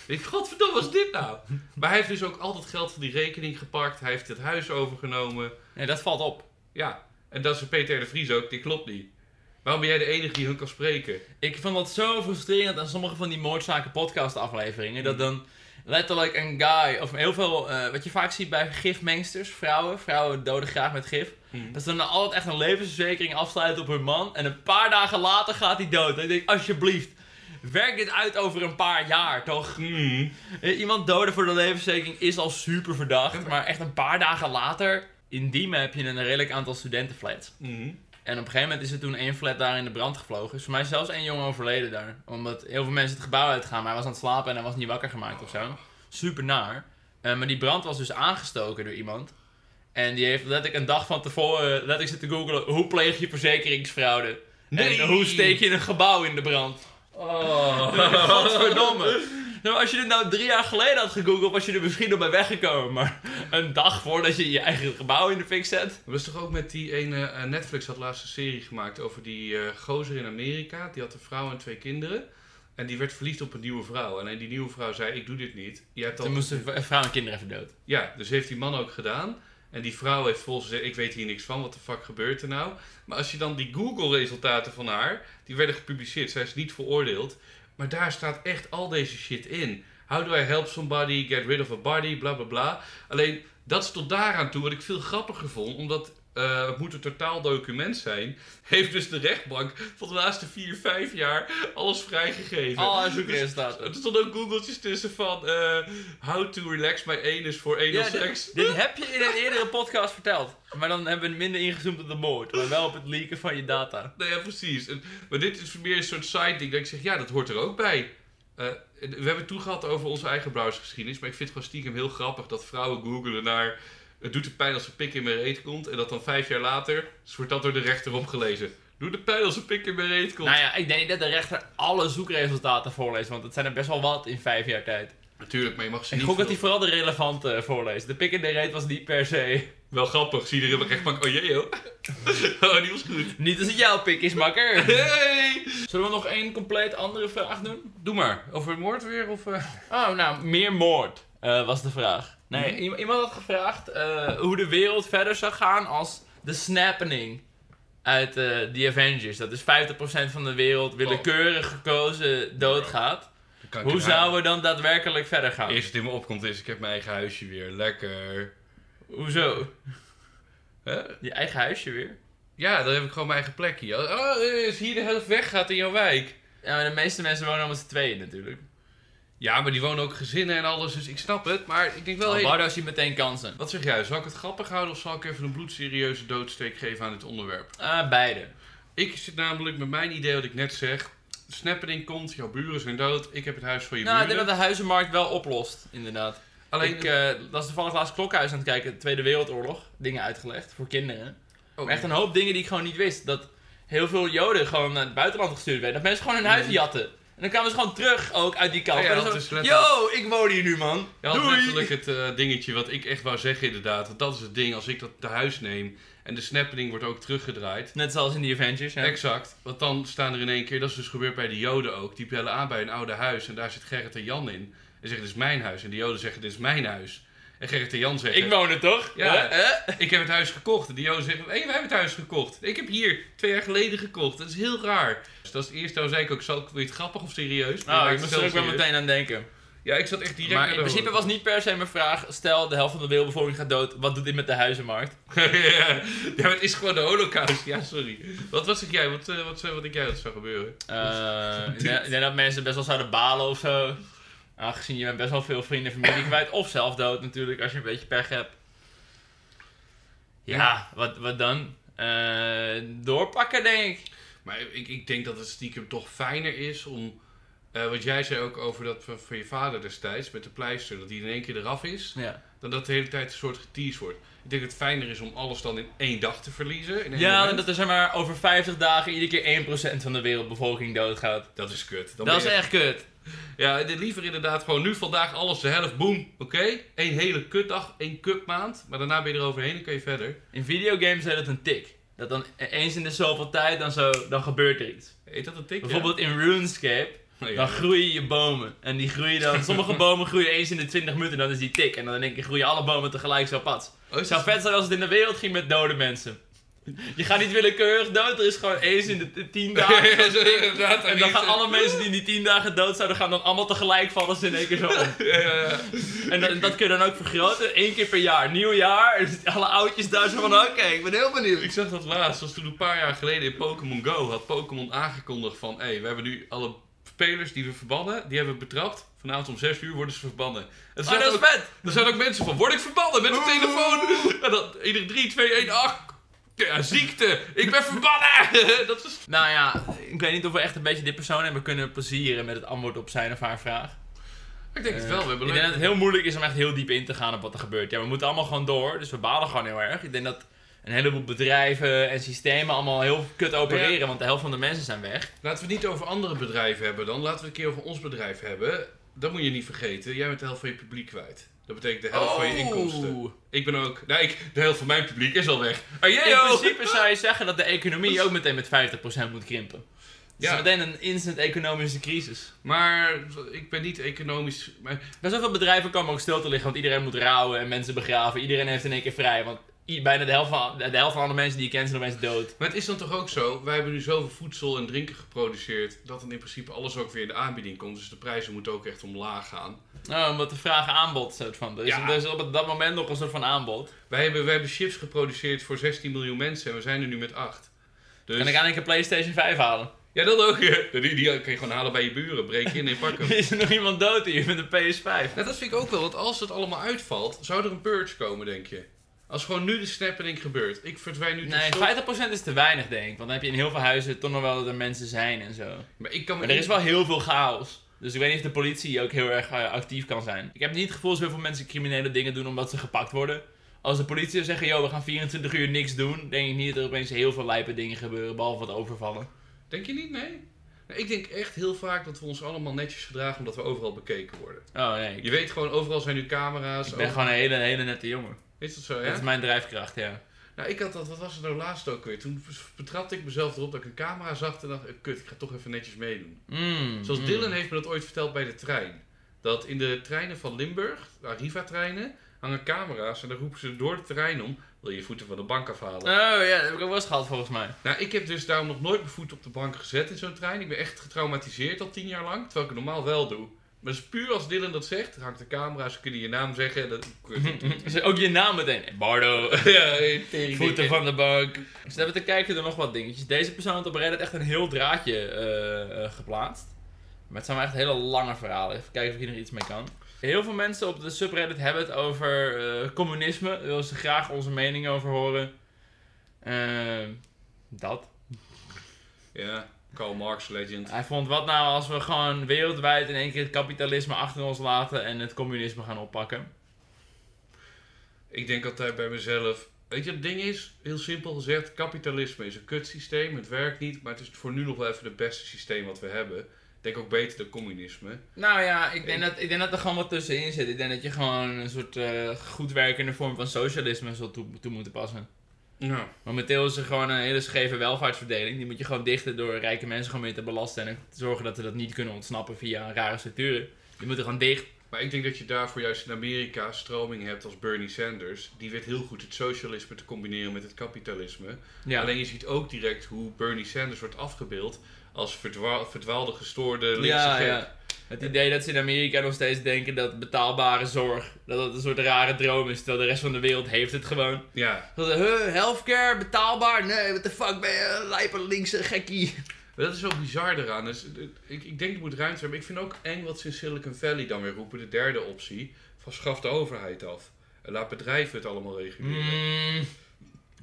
Speaker 2: Ik, godverdomme, wat is dit nou? Maar hij heeft dus ook al dat geld van die rekening gepakt. Hij heeft het huis overgenomen.
Speaker 1: Nee, dat valt op.
Speaker 2: Ja, en dat is Peter R. de Vries ook. Dit klopt niet. Waarom ben jij de enige die hun kan spreken?
Speaker 1: Ik vond dat zo frustrerend aan sommige van die moordzaken podcast afleveringen. Dat dan letterlijk een guy, of heel veel, eh, wat je vaak ziet bij gifmengsters, vrouwen. Vrouwen doden graag met gif. Dat ze dan altijd echt een levensverzekering afsluiten op hun man. En een paar dagen later gaat hij dood. En ik denk, alsjeblieft, werk dit uit over een paar jaar, toch?
Speaker 2: Hmm.
Speaker 1: Eh, Iemand doden voor de levensverzekering is al super
Speaker 2: Ja,
Speaker 1: verdacht.
Speaker 2: maar-
Speaker 1: Maar echt een paar dagen later, in Diemen heb je een redelijk aantal studentenflats.
Speaker 2: Hmm.
Speaker 1: En op een gegeven moment is er toen één flat daar in de brand gevlogen. Is voor mij zelfs één jongen overleden daar. Omdat heel veel mensen het gebouw uitgaan, maar hij was aan het slapen en hij was niet wakker gemaakt of zo. Super naar. Eh, maar die brand was dus aangestoken door iemand. En die heeft letterlijk een dag van tevoren eh, letterlijk zitten googelen hoe pleeg je verzekeringsfraude? En hoe steek je een gebouw in de brand? Godverdomme. Nou, als je dit nou drie jaar geleden had gegoogeld, was je er misschien nog bij weggekomen. Maar een dag voordat je je eigen gebouw in de fik zet.
Speaker 2: Dat was toch ook met die ene... eh, Netflix had laatst een serie gemaakt over die eh, gozer in Amerika. Die had een vrouw en twee kinderen. En die werd verliefd op een nieuwe vrouw. En die nieuwe vrouw zei, ik doe dit niet. Je hebt al...
Speaker 1: Toen moesten v- vrouw en kinderen even dood.
Speaker 2: Ja, dus heeft die man ook gedaan. En die vrouw heeft volgens gezegd, ik weet hier niks van, wat de fuck gebeurt er nou? Maar als je dan die Google-resultaten van haar, die werden gepubliceerd, zij is niet veroordeeld. Maar daar staat echt al deze shit in. How do I help somebody, get rid of a body, bla bla bla. Alleen, dat is tot daaraan toe wat ik veel grappiger vond, omdat eh, het moet een totaal document zijn. Heeft dus de rechtbank van de laatste 4, 5 jaar alles vrijgegeven. Dus
Speaker 1: Alle zoekresultaten.
Speaker 2: Er stonden ook googeltjes tussen van eh, how to relax my anus voor anal
Speaker 1: Ja,
Speaker 2: sex.
Speaker 1: dit, dit heb je in een eerdere podcast verteld. Maar dan hebben we minder ingezoomd op de moord. Maar wel op het leaken van je data.
Speaker 2: Nou ja, precies. En, maar dit is meer een soort side ding dat ik zeg, ja, dat hoort er ook bij. Eh, en we hebben het toen gehad over onze eigen browsergeschiedenis, maar ik vind het gewoon stiekem heel grappig dat vrouwen googelen naar het doet de pijn als een pik in mijn reet komt en dat dan vijf jaar later dus wordt dat door de rechter opgelezen. Doe de pijn als een pik in mijn reet komt.
Speaker 1: Nou ja, ik denk niet dat de rechter alle zoekresultaten voorleest. Want het zijn er best wel wat in vijf jaar tijd.
Speaker 2: Natuurlijk, maar je mag ze
Speaker 1: Ik
Speaker 2: niet...
Speaker 1: gok dat hij
Speaker 2: veel-
Speaker 1: vooral de relevante eh, voorleest. De pik in de reet was niet per se.
Speaker 2: Wel grappig, zie je er in de rechtbank, oh jee joh. oh, die was goed.
Speaker 1: Niet als het jouw pik is, makker.
Speaker 2: Hey!
Speaker 1: Zullen we nog één compleet andere vraag doen?
Speaker 2: Doe maar, over moord weer of... eh?
Speaker 1: Oh, nou, meer moord eh, was de vraag. Nee,
Speaker 2: Mhm.
Speaker 1: i- iemand had gevraagd eh, hoe de wereld verder zou gaan als de snappening uit eh The Avengers. Dat is 50% van de wereld willekeurig gekozen doodgaat. Hoe zouden we dan daadwerkelijk verder gaan?
Speaker 2: Eerst wat in me opkomt is, ik heb mijn eigen huisje weer. Lekker.
Speaker 1: Hoezo?
Speaker 2: Hè?
Speaker 1: Je eigen huisje weer?
Speaker 2: Ja, dan heb ik gewoon mijn eigen plekje. Oh, eh, als hier de helft weggaat in jouw wijk.
Speaker 1: Ja, maar de meeste mensen wonen al met z'n tweeën natuurlijk.
Speaker 2: Ja, maar die wonen ook gezinnen en alles, dus ik snap het. Maar ik denk wel...
Speaker 1: Al
Speaker 2: hey,
Speaker 1: Bardo ziet meteen kansen.
Speaker 2: wat zeg jij? Zal ik het grappig houden of zal ik even een bloedserieuze doodsteek geven aan dit onderwerp?
Speaker 1: Ah, beide.
Speaker 2: Ik zit namelijk met mijn idee wat ik net zeg. Snappening komt, jouw buren zijn dood, ik heb het huis van je
Speaker 1: Nou, ik denk
Speaker 2: buren.
Speaker 1: dat de huizenmarkt wel oplost, inderdaad.
Speaker 2: Alleen...
Speaker 1: ik eh, was toevallig laatst klokhuis aan het kijken, Tweede Wereldoorlog, dingen uitgelegd voor kinderen.
Speaker 2: oh,
Speaker 1: Maar echt een hoop dingen die ik gewoon niet wist. Dat heel veel Joden gewoon naar het buitenland gestuurd werden. Dat mensen gewoon hun huis jatten. En dan kwamen ze gewoon terug ook uit die kamp.
Speaker 2: Ja, ja,
Speaker 1: en dan
Speaker 2: dat
Speaker 1: zo,
Speaker 2: is letterlijk-
Speaker 1: Yo, ik woon hier nu man.
Speaker 2: Ja, dat is
Speaker 1: Doei.
Speaker 2: letterlijk het eh, dingetje wat ik echt wou zeggen inderdaad. Want dat is het ding, als ik dat te huis neem en de snappening wordt ook teruggedraaid...
Speaker 1: Net zoals in die Avengers. Ja.
Speaker 2: Exact. Want dan staan er in één keer, dat is dus gebeurd bij de Joden ook. Die bellen aan bij een oude huis en daar zit Gerrit en Jan in. En zeggen: Dit is mijn huis. En de Joden zeggen: Dit is mijn huis. En Gerrit en Jan zeggen:
Speaker 1: Ik woon er toch?
Speaker 2: Ja.
Speaker 1: Huh? Huh?
Speaker 2: Ik heb het huis gekocht. En de Joden zeggen: Hé, wij hebben het huis gekocht. Ik heb hier twee jaar geleden gekocht. Dat is heel raar. Dus dat is het eerste. Nou, zei ik ook: zal ik, Wil je het grappig of serieus? Maar
Speaker 1: Nou,
Speaker 2: maakt
Speaker 1: ik
Speaker 2: het
Speaker 1: moest er ook
Speaker 2: zelf
Speaker 1: wel
Speaker 2: serieus.
Speaker 1: meteen aan denken.
Speaker 2: Ja, ik zat echt direct.
Speaker 1: Maar
Speaker 2: naar
Speaker 1: in
Speaker 2: de
Speaker 1: principe was
Speaker 2: horen.
Speaker 1: niet per se mijn vraag, stel de helft van de wereldbevolking gaat dood, wat doet dit met de huizenmarkt?
Speaker 2: ja, maar het is gewoon de holocaust. Ja, sorry. Wat, wat zeg jij? Wat, eh, wat, eh, wat denk jij dat zou gebeuren?
Speaker 1: Eh, ik denk- ik denk dat mensen best wel zouden balen of zo. Aangezien je bent best wel veel vrienden en familie kwijt. Of zelf dood natuurlijk, als je een beetje pech hebt. Ja,
Speaker 2: Ja.
Speaker 1: Wat, wat dan? Eh, doorpakken denk ik.
Speaker 2: Maar ik, ik denk dat het stiekem toch fijner is om Eh, want jij zei ook over dat van, van je vader destijds met de pleister, dat die in één keer eraf is.
Speaker 1: Ja,
Speaker 2: Dan dat de hele tijd een soort geteased wordt. Ik denk dat het fijner is om alles dan in één dag te verliezen. In één
Speaker 1: ja
Speaker 2: moment.
Speaker 1: en dat er zeg maar over 50 dagen iedere keer 1% van de wereldbevolking doodgaat.
Speaker 2: dat is kut. Dan
Speaker 1: Dat
Speaker 2: ben
Speaker 1: is
Speaker 2: je-
Speaker 1: echt kut.
Speaker 2: Ja, dit liever inderdaad gewoon nu vandaag alles de helft, boom, oké? Eén hele kutdag, één kutmaand, maar daarna ben je er overheen en kun je verder.
Speaker 1: In videogames heet dat een tik. Dat dan e-, eens in de zoveel tijd dan, zo, dan gebeurt er iets.
Speaker 2: Heet dat een tik?
Speaker 1: Bijvoorbeeld in RuneScape,
Speaker 2: Ja?
Speaker 1: dan groeien je bomen. En die groeien dan, sommige bomen groeien eens in de 20 minuten, dan is die tik. En dan denk ik, groeien alle bomen tegelijk zo pad.
Speaker 2: Oh,
Speaker 1: Het
Speaker 2: is
Speaker 1: zou
Speaker 2: dat-
Speaker 1: vet zijn als het in de wereld ging met dode mensen. Je gaat niet willekeurig dood, er is gewoon eens in de t- tien dagen.
Speaker 2: Ja, zo inderdaad,
Speaker 1: En dan gaan
Speaker 2: is-
Speaker 1: alle mensen die in die tien dagen dood zouden gaan, dan allemaal tegelijk vallen ze in één keer zo om.
Speaker 2: Ja, ja, ja.
Speaker 1: En dat, dat kun je dan ook vergroten, één keer per jaar. Nieuw jaar, en zitten alle oudjes daar zo van, oké, ik ben heel benieuwd.
Speaker 2: Ik zag dat laatst, was toen een paar jaar geleden in Pokémon Go, had Pokémon aangekondigd van, hé, we hebben nu alle spelers die we verbannen, die hebben we betrapt. Vanavond om 6 uur worden ze verbannen. Er
Speaker 1: Maar
Speaker 2: zaten,
Speaker 1: Ah, dat is
Speaker 2: ook,
Speaker 1: vet!
Speaker 2: er zaten ook mensen van, word ik verbannen met een
Speaker 1: Oeh.
Speaker 2: telefoon? En dan, ieder 3, 2, 1, ach, ja, ziekte, ik ben verbannen! dat is...
Speaker 1: Nou ja, ik weet niet of we echt een beetje dit persoon hebben kunnen plezieren met het antwoord op zijn of haar vraag.
Speaker 2: Ik denk het wel, we hebben
Speaker 1: Eh, ik
Speaker 2: leuk.
Speaker 1: denk dat het heel moeilijk is om echt heel diep in te gaan op wat er gebeurt. Ja, we moeten allemaal gewoon door, dus we balen gewoon heel erg. Ik denk dat een heleboel bedrijven en systemen allemaal heel kut opereren, want de helft van de mensen zijn weg.
Speaker 2: Laten we het niet over andere bedrijven hebben dan. Laten we het een keer over ons bedrijf hebben. Dat moet je niet vergeten. Jij bent de helft van je publiek kwijt. Dat betekent de helft
Speaker 1: Oh.
Speaker 2: van je inkomsten. Ik ben ook... Nou, ik, de helft van mijn publiek is al weg. Ah, jee,
Speaker 1: In
Speaker 2: joh!
Speaker 1: principe zou je zeggen dat de economie ook meteen met 50% moet krimpen. Dus
Speaker 2: Ja.
Speaker 1: is meteen een instant economische crisis.
Speaker 2: Maar ik ben niet economisch... Maar,
Speaker 1: Maar zoveel bedrijven komen ook stil te liggen, want iedereen moet rouwen en mensen begraven. Iedereen heeft in één keer vrij, want i- bijna de helft van, de helft van alle mensen die je kent zijn opeens dood.
Speaker 2: maar het is dan toch ook zo... Wij hebben nu zoveel voedsel en drinken geproduceerd... dat dan in principe alles ook weer in de aanbieding komt. Dus de prijzen moeten ook echt omlaag gaan.
Speaker 1: Nou, omdat de vraag aanbod soort van. Dus
Speaker 2: Ja.
Speaker 1: er is op dat moment nog een soort van aanbod.
Speaker 2: Wij hebben, wij hebben chips geproduceerd voor 16 miljoen mensen... en we zijn er nu met 8. Dus...
Speaker 1: En dan kan ik een PlayStation 5 halen.
Speaker 2: Ja, dat ook. Die, die kun je gewoon halen bij je buren. Breek je in en pak hem.
Speaker 1: Is er nog iemand dood hier met een PS5?
Speaker 2: Nou, dat vind ik ook wel, want als het allemaal uitvalt, zou er een purge komen, denk je? Als gewoon nu de snappening gebeurt. Ik verdwijn nu tot
Speaker 1: Nee,
Speaker 2: slot.
Speaker 1: 50% is te weinig, denk ik. Want dan heb je in heel veel huizen toch nog wel dat er mensen zijn en zo.
Speaker 2: Maar ik kan me
Speaker 1: Maar er is wel heel veel chaos. Dus ik weet niet of de politie ook heel erg eh, actief kan zijn. Ik heb niet het gevoel dat zoveel mensen criminele dingen doen omdat ze gepakt worden. Als de politie zou zeggen, joh, we gaan 24 uur niks doen, denk ik niet dat er opeens heel veel lijpe dingen gebeuren, behalve wat overvallen.
Speaker 2: Denk je niet, nee? Nou, ik denk echt heel vaak dat we ons allemaal netjes gedragen omdat we overal bekeken worden.
Speaker 1: Oh nee, ik,
Speaker 2: Je weet gewoon, overal zijn nu camera's.
Speaker 1: ik ben
Speaker 2: over-
Speaker 1: gewoon een hele, hele nette jongen.
Speaker 2: Is dat zo,
Speaker 1: Dat
Speaker 2: ja?
Speaker 1: is mijn drijfkracht, ja.
Speaker 2: Nou, ik had dat, wat was het nou laatst ook weer? Toen betrapte ik mezelf erop dat ik een camera zag en dacht, eh, kut, ik ga toch even netjes meedoen.
Speaker 1: Mm,
Speaker 2: Zoals
Speaker 1: mm.
Speaker 2: Dylan heeft me dat ooit verteld bij de trein. Dat in de treinen van Limburg, de Arriva-treinen, hangen camera's en dan roepen ze door de trein om: wil je je voeten van de bank afhalen?
Speaker 1: Oh ja, dat heb ik ook wel eens gehad volgens mij.
Speaker 2: Nou, ik heb dus daarom nog nooit mijn voet op de bank gezet in zo'n trein. Ik ben echt getraumatiseerd al tien jaar lang, terwijl ik het normaal wel doe. Maar dat is puur als Dylan dat zegt, hangt de camera, ze kunnen je naam zeggen en dat.
Speaker 1: Is er ook je naam meteen. Bardo.
Speaker 2: ja, eh, tering.
Speaker 1: Voeten van de bank. Dus hebben te kijken er nog wat dingetjes. Deze persoon had op Reddit echt een heel draadje eh, eh, geplaatst. Maar het zijn maar echt hele lange verhalen. Even kijken of ik hier nog iets mee kan. Heel veel mensen op de subreddit hebben het over eh, communisme. Daar willen ze graag onze mening over horen. Ehm, dat.
Speaker 2: Ja, Karl Marx legend.
Speaker 1: Hij vond wat nou als we gewoon wereldwijd in één keer het kapitalisme achter ons laten en het communisme gaan oppakken.
Speaker 2: Ik denk altijd bij mezelf. Weet je, het ding is, heel simpel gezegd, kapitalisme is een kutsysteem, het werkt niet, maar het is voor nu nog wel even het beste systeem wat we hebben. Ik denk ook beter dan communisme.
Speaker 1: Nou ja, ik denk, dat, ik denk dat er gewoon wat tussenin zit. Ik denk dat je gewoon een soort eh, goed werkende vorm van socialisme zal toe, toe moeten passen.
Speaker 2: Ja.
Speaker 1: Momenteel is er gewoon een hele scheve welvaartsverdeling. Die moet je gewoon dichten door rijke mensen gewoon meer te belasten. En te zorgen dat ze dat niet kunnen ontsnappen via rare structuren. Die moeten gewoon dicht.
Speaker 2: Maar ik denk dat je daarvoor juist in Amerika stroming hebt als Bernie Sanders. Die weet heel goed het socialisme te combineren met het kapitalisme.
Speaker 1: Ja.
Speaker 2: Alleen je ziet ook direct hoe Bernie Sanders wordt afgebeeld als verdwa- verdwaalde, gestoorde linkse
Speaker 1: ja,
Speaker 2: gek.
Speaker 1: ja. Het idee dat ze in Amerika nog steeds denken dat betaalbare zorg, dat dat een soort rare droom is. Terwijl de rest van de wereld heeft het gewoon.
Speaker 2: ja.
Speaker 1: Dat, huh, healthcare, betaalbaar? Nee, what the fuck ben je een lijpe linkse gekkie?
Speaker 2: Maar dat is zo bizar eraan. Dus, eh, ik, ik denk dat moet ruimte zijn. Maar ik vind ook eng wat ze in Silicon Valley dan weer roepen. De derde optie. Van schaf de overheid af. En laat bedrijven het allemaal reguleren.
Speaker 1: Mm.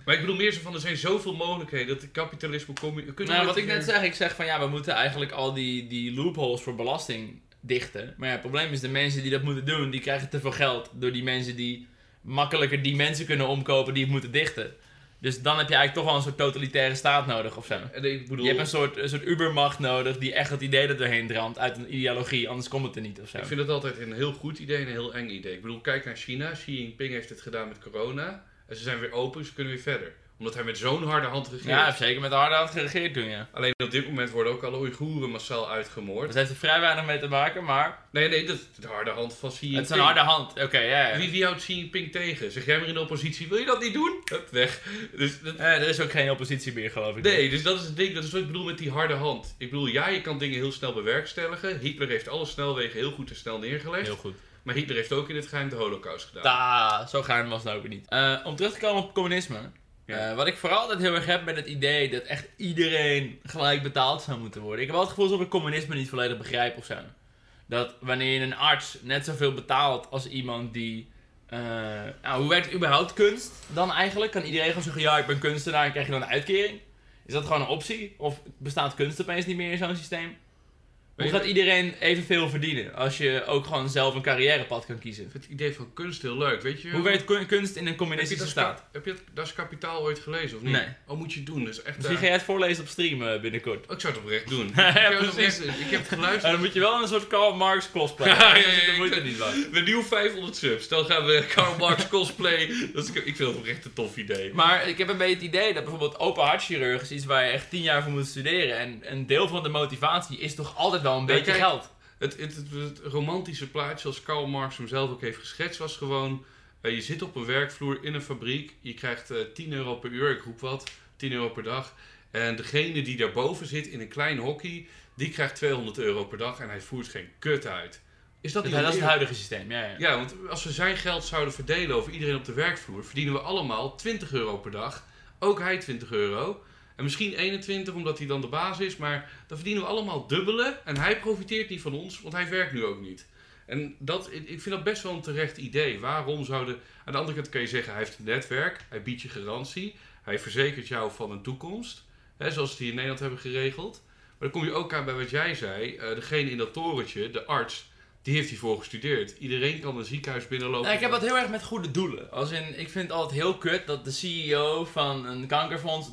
Speaker 2: Maar ik bedoel meer zo van, er zijn zoveel mogelijkheden dat het kapitalisme... Kom, kunnen we
Speaker 1: Nou,
Speaker 2: het
Speaker 1: wat ik
Speaker 2: weer-
Speaker 1: net zeg, ik zeg van ja, we moeten eigenlijk al die, die loopholes voor belasting dichten. Maar ja, het probleem is, de mensen die dat moeten doen, die krijgen te veel geld door die mensen die makkelijker die mensen kunnen omkopen die het moeten dichten. Dus dan heb je eigenlijk toch wel een soort totalitaire staat nodig of zo.
Speaker 2: En ik bedoel...
Speaker 1: Je hebt een soort, een soort ubermacht nodig die echt dat idee er doorheen dramt uit een ideologie, anders komt het er niet of zo.
Speaker 2: Ik vind het altijd een heel goed idee en een heel eng idee. Ik bedoel, kijk naar China. Xi Jinping heeft het gedaan met corona. En ze zijn weer open, ze kunnen weer verder. Omdat hij met zo'n harde hand regeert.
Speaker 1: Ja, hij heeft zeker met de harde hand geregeerd toen, ja.
Speaker 2: Alleen op dit moment worden ook alle Oeigoeren massaal uitgemoord.
Speaker 1: Dus heeft er vrij weinig mee te maken, maar
Speaker 2: Nee, nee, dat is de harde hand van Xi Jinping.
Speaker 1: het is een harde hand. Oké, ja, ja.
Speaker 2: Wie, wie houdt Xi Jinping tegen? Zeg jij maar in de oppositie, wil je dat niet doen? Hup, weg. Dus dat...
Speaker 1: Eh, er is ook geen oppositie meer, geloof ik.
Speaker 2: Nee, dus dat is het ding. Dat is wat ik bedoel met die harde hand. Ik bedoel, ja, je kan dingen heel snel bewerkstelligen. Hitler heeft alle snelwegen heel goed en snel neergelegd.
Speaker 1: Heel goed.
Speaker 2: Maar Hitler heeft ook in het geheim de holocaust gedaan.
Speaker 1: Da, zo gaar was het ook weer niet. Eh, om terug te komen op communisme.
Speaker 2: Ja.
Speaker 1: Eh, wat ik vooral altijd heel erg heb met het idee dat echt iedereen gelijk betaald zou moeten worden. Ik heb wel het gevoel alsof ik communisme niet volledig begrijp of zo. Dat wanneer je een arts net zoveel betaalt als iemand die... eh, nou, hoe werkt überhaupt kunst dan eigenlijk? Kan iedereen gewoon zeggen, ja, ik ben kunstenaar en krijg je dan een uitkering? Is dat gewoon een optie? Of bestaat kunst opeens niet meer in zo'n systeem? Hoe
Speaker 2: Weet je-
Speaker 1: gaat iedereen evenveel verdienen als je ook gewoon zelf een carrièrepad kan kiezen?
Speaker 2: Ik vind het idee van kunst heel leuk, weet je?
Speaker 1: Hoe werkt kun- kunst in een
Speaker 2: heb je,
Speaker 1: communistische
Speaker 2: dat
Speaker 1: staat?
Speaker 2: staat? heb je dat, dat is kapitaal ooit gelezen of niet?
Speaker 1: Nee.
Speaker 2: Oh, moet je doen. Dat is echt.
Speaker 1: Misschien
Speaker 2: eh,
Speaker 1: ga jij het voorlezen op stream eh, binnenkort.
Speaker 2: oh, ik zou het oprecht doen.
Speaker 1: Ja,
Speaker 2: ik, zou het
Speaker 1: precies.
Speaker 2: oprecht doen. ik heb het
Speaker 1: Maar
Speaker 2: geluisterd.
Speaker 1: Eh, dan moet je wel een soort Karl Marx cosplay. Dus
Speaker 2: Ja, ja, ja,
Speaker 1: Dat is de
Speaker 2: ik-
Speaker 1: moeite niet waard.
Speaker 2: We nieuw 500 subs. Dan gaan we Karl Marx cosplay. Dat is, ik vind het oprecht een tof idee.
Speaker 1: Maar ik heb een beetje het idee dat bijvoorbeeld open hartchirurg is iets waar je echt tien jaar voor moet studeren. En een deel van de motivatie is toch altijd wel een
Speaker 2: Ja,
Speaker 1: beetje
Speaker 2: kijk,
Speaker 1: geld.
Speaker 2: Het, het, het, het romantische plaatje, zoals Karl Marx hem zelf ook heeft geschetst, was gewoon: eh, je zit op een werkvloer in een fabriek. Je krijgt eh, 10 euro per uur, ik roep wat, 10 euro per dag. En degene die daarboven zit in een klein hockey, die krijgt 200 euro per dag en hij voert geen kut uit. Is dat
Speaker 1: Dat, dat
Speaker 2: niet
Speaker 1: is het
Speaker 2: eerlijk?
Speaker 1: huidige systeem, ja, ja.
Speaker 2: Ja, want als we zijn geld zouden verdelen over iedereen op de werkvloer, verdienen we allemaal 20 euro per dag. Ook hij 20 euro. En misschien 21, omdat hij dan de baas is. Maar dan verdienen we allemaal dubbele. En hij profiteert niet van ons, want hij werkt nu ook niet. En dat, ik ik vind dat best wel een terecht idee. Waarom zouden... Aan de andere kant kan je zeggen, hij heeft een netwerk. Hij biedt je garantie. Hij verzekert jou van een toekomst. Hè, zoals ze die in Nederland hebben geregeld. Maar dan kom je ook aan bij wat jij zei. eh, degene in dat torentje, de arts, die heeft hiervoor gestudeerd. Iedereen kan een ziekenhuis binnenlopen.
Speaker 1: Nou, ik heb dat heel erg met goede doelen. Als in, ik vind het altijd heel kut dat de CEO van een kankerfonds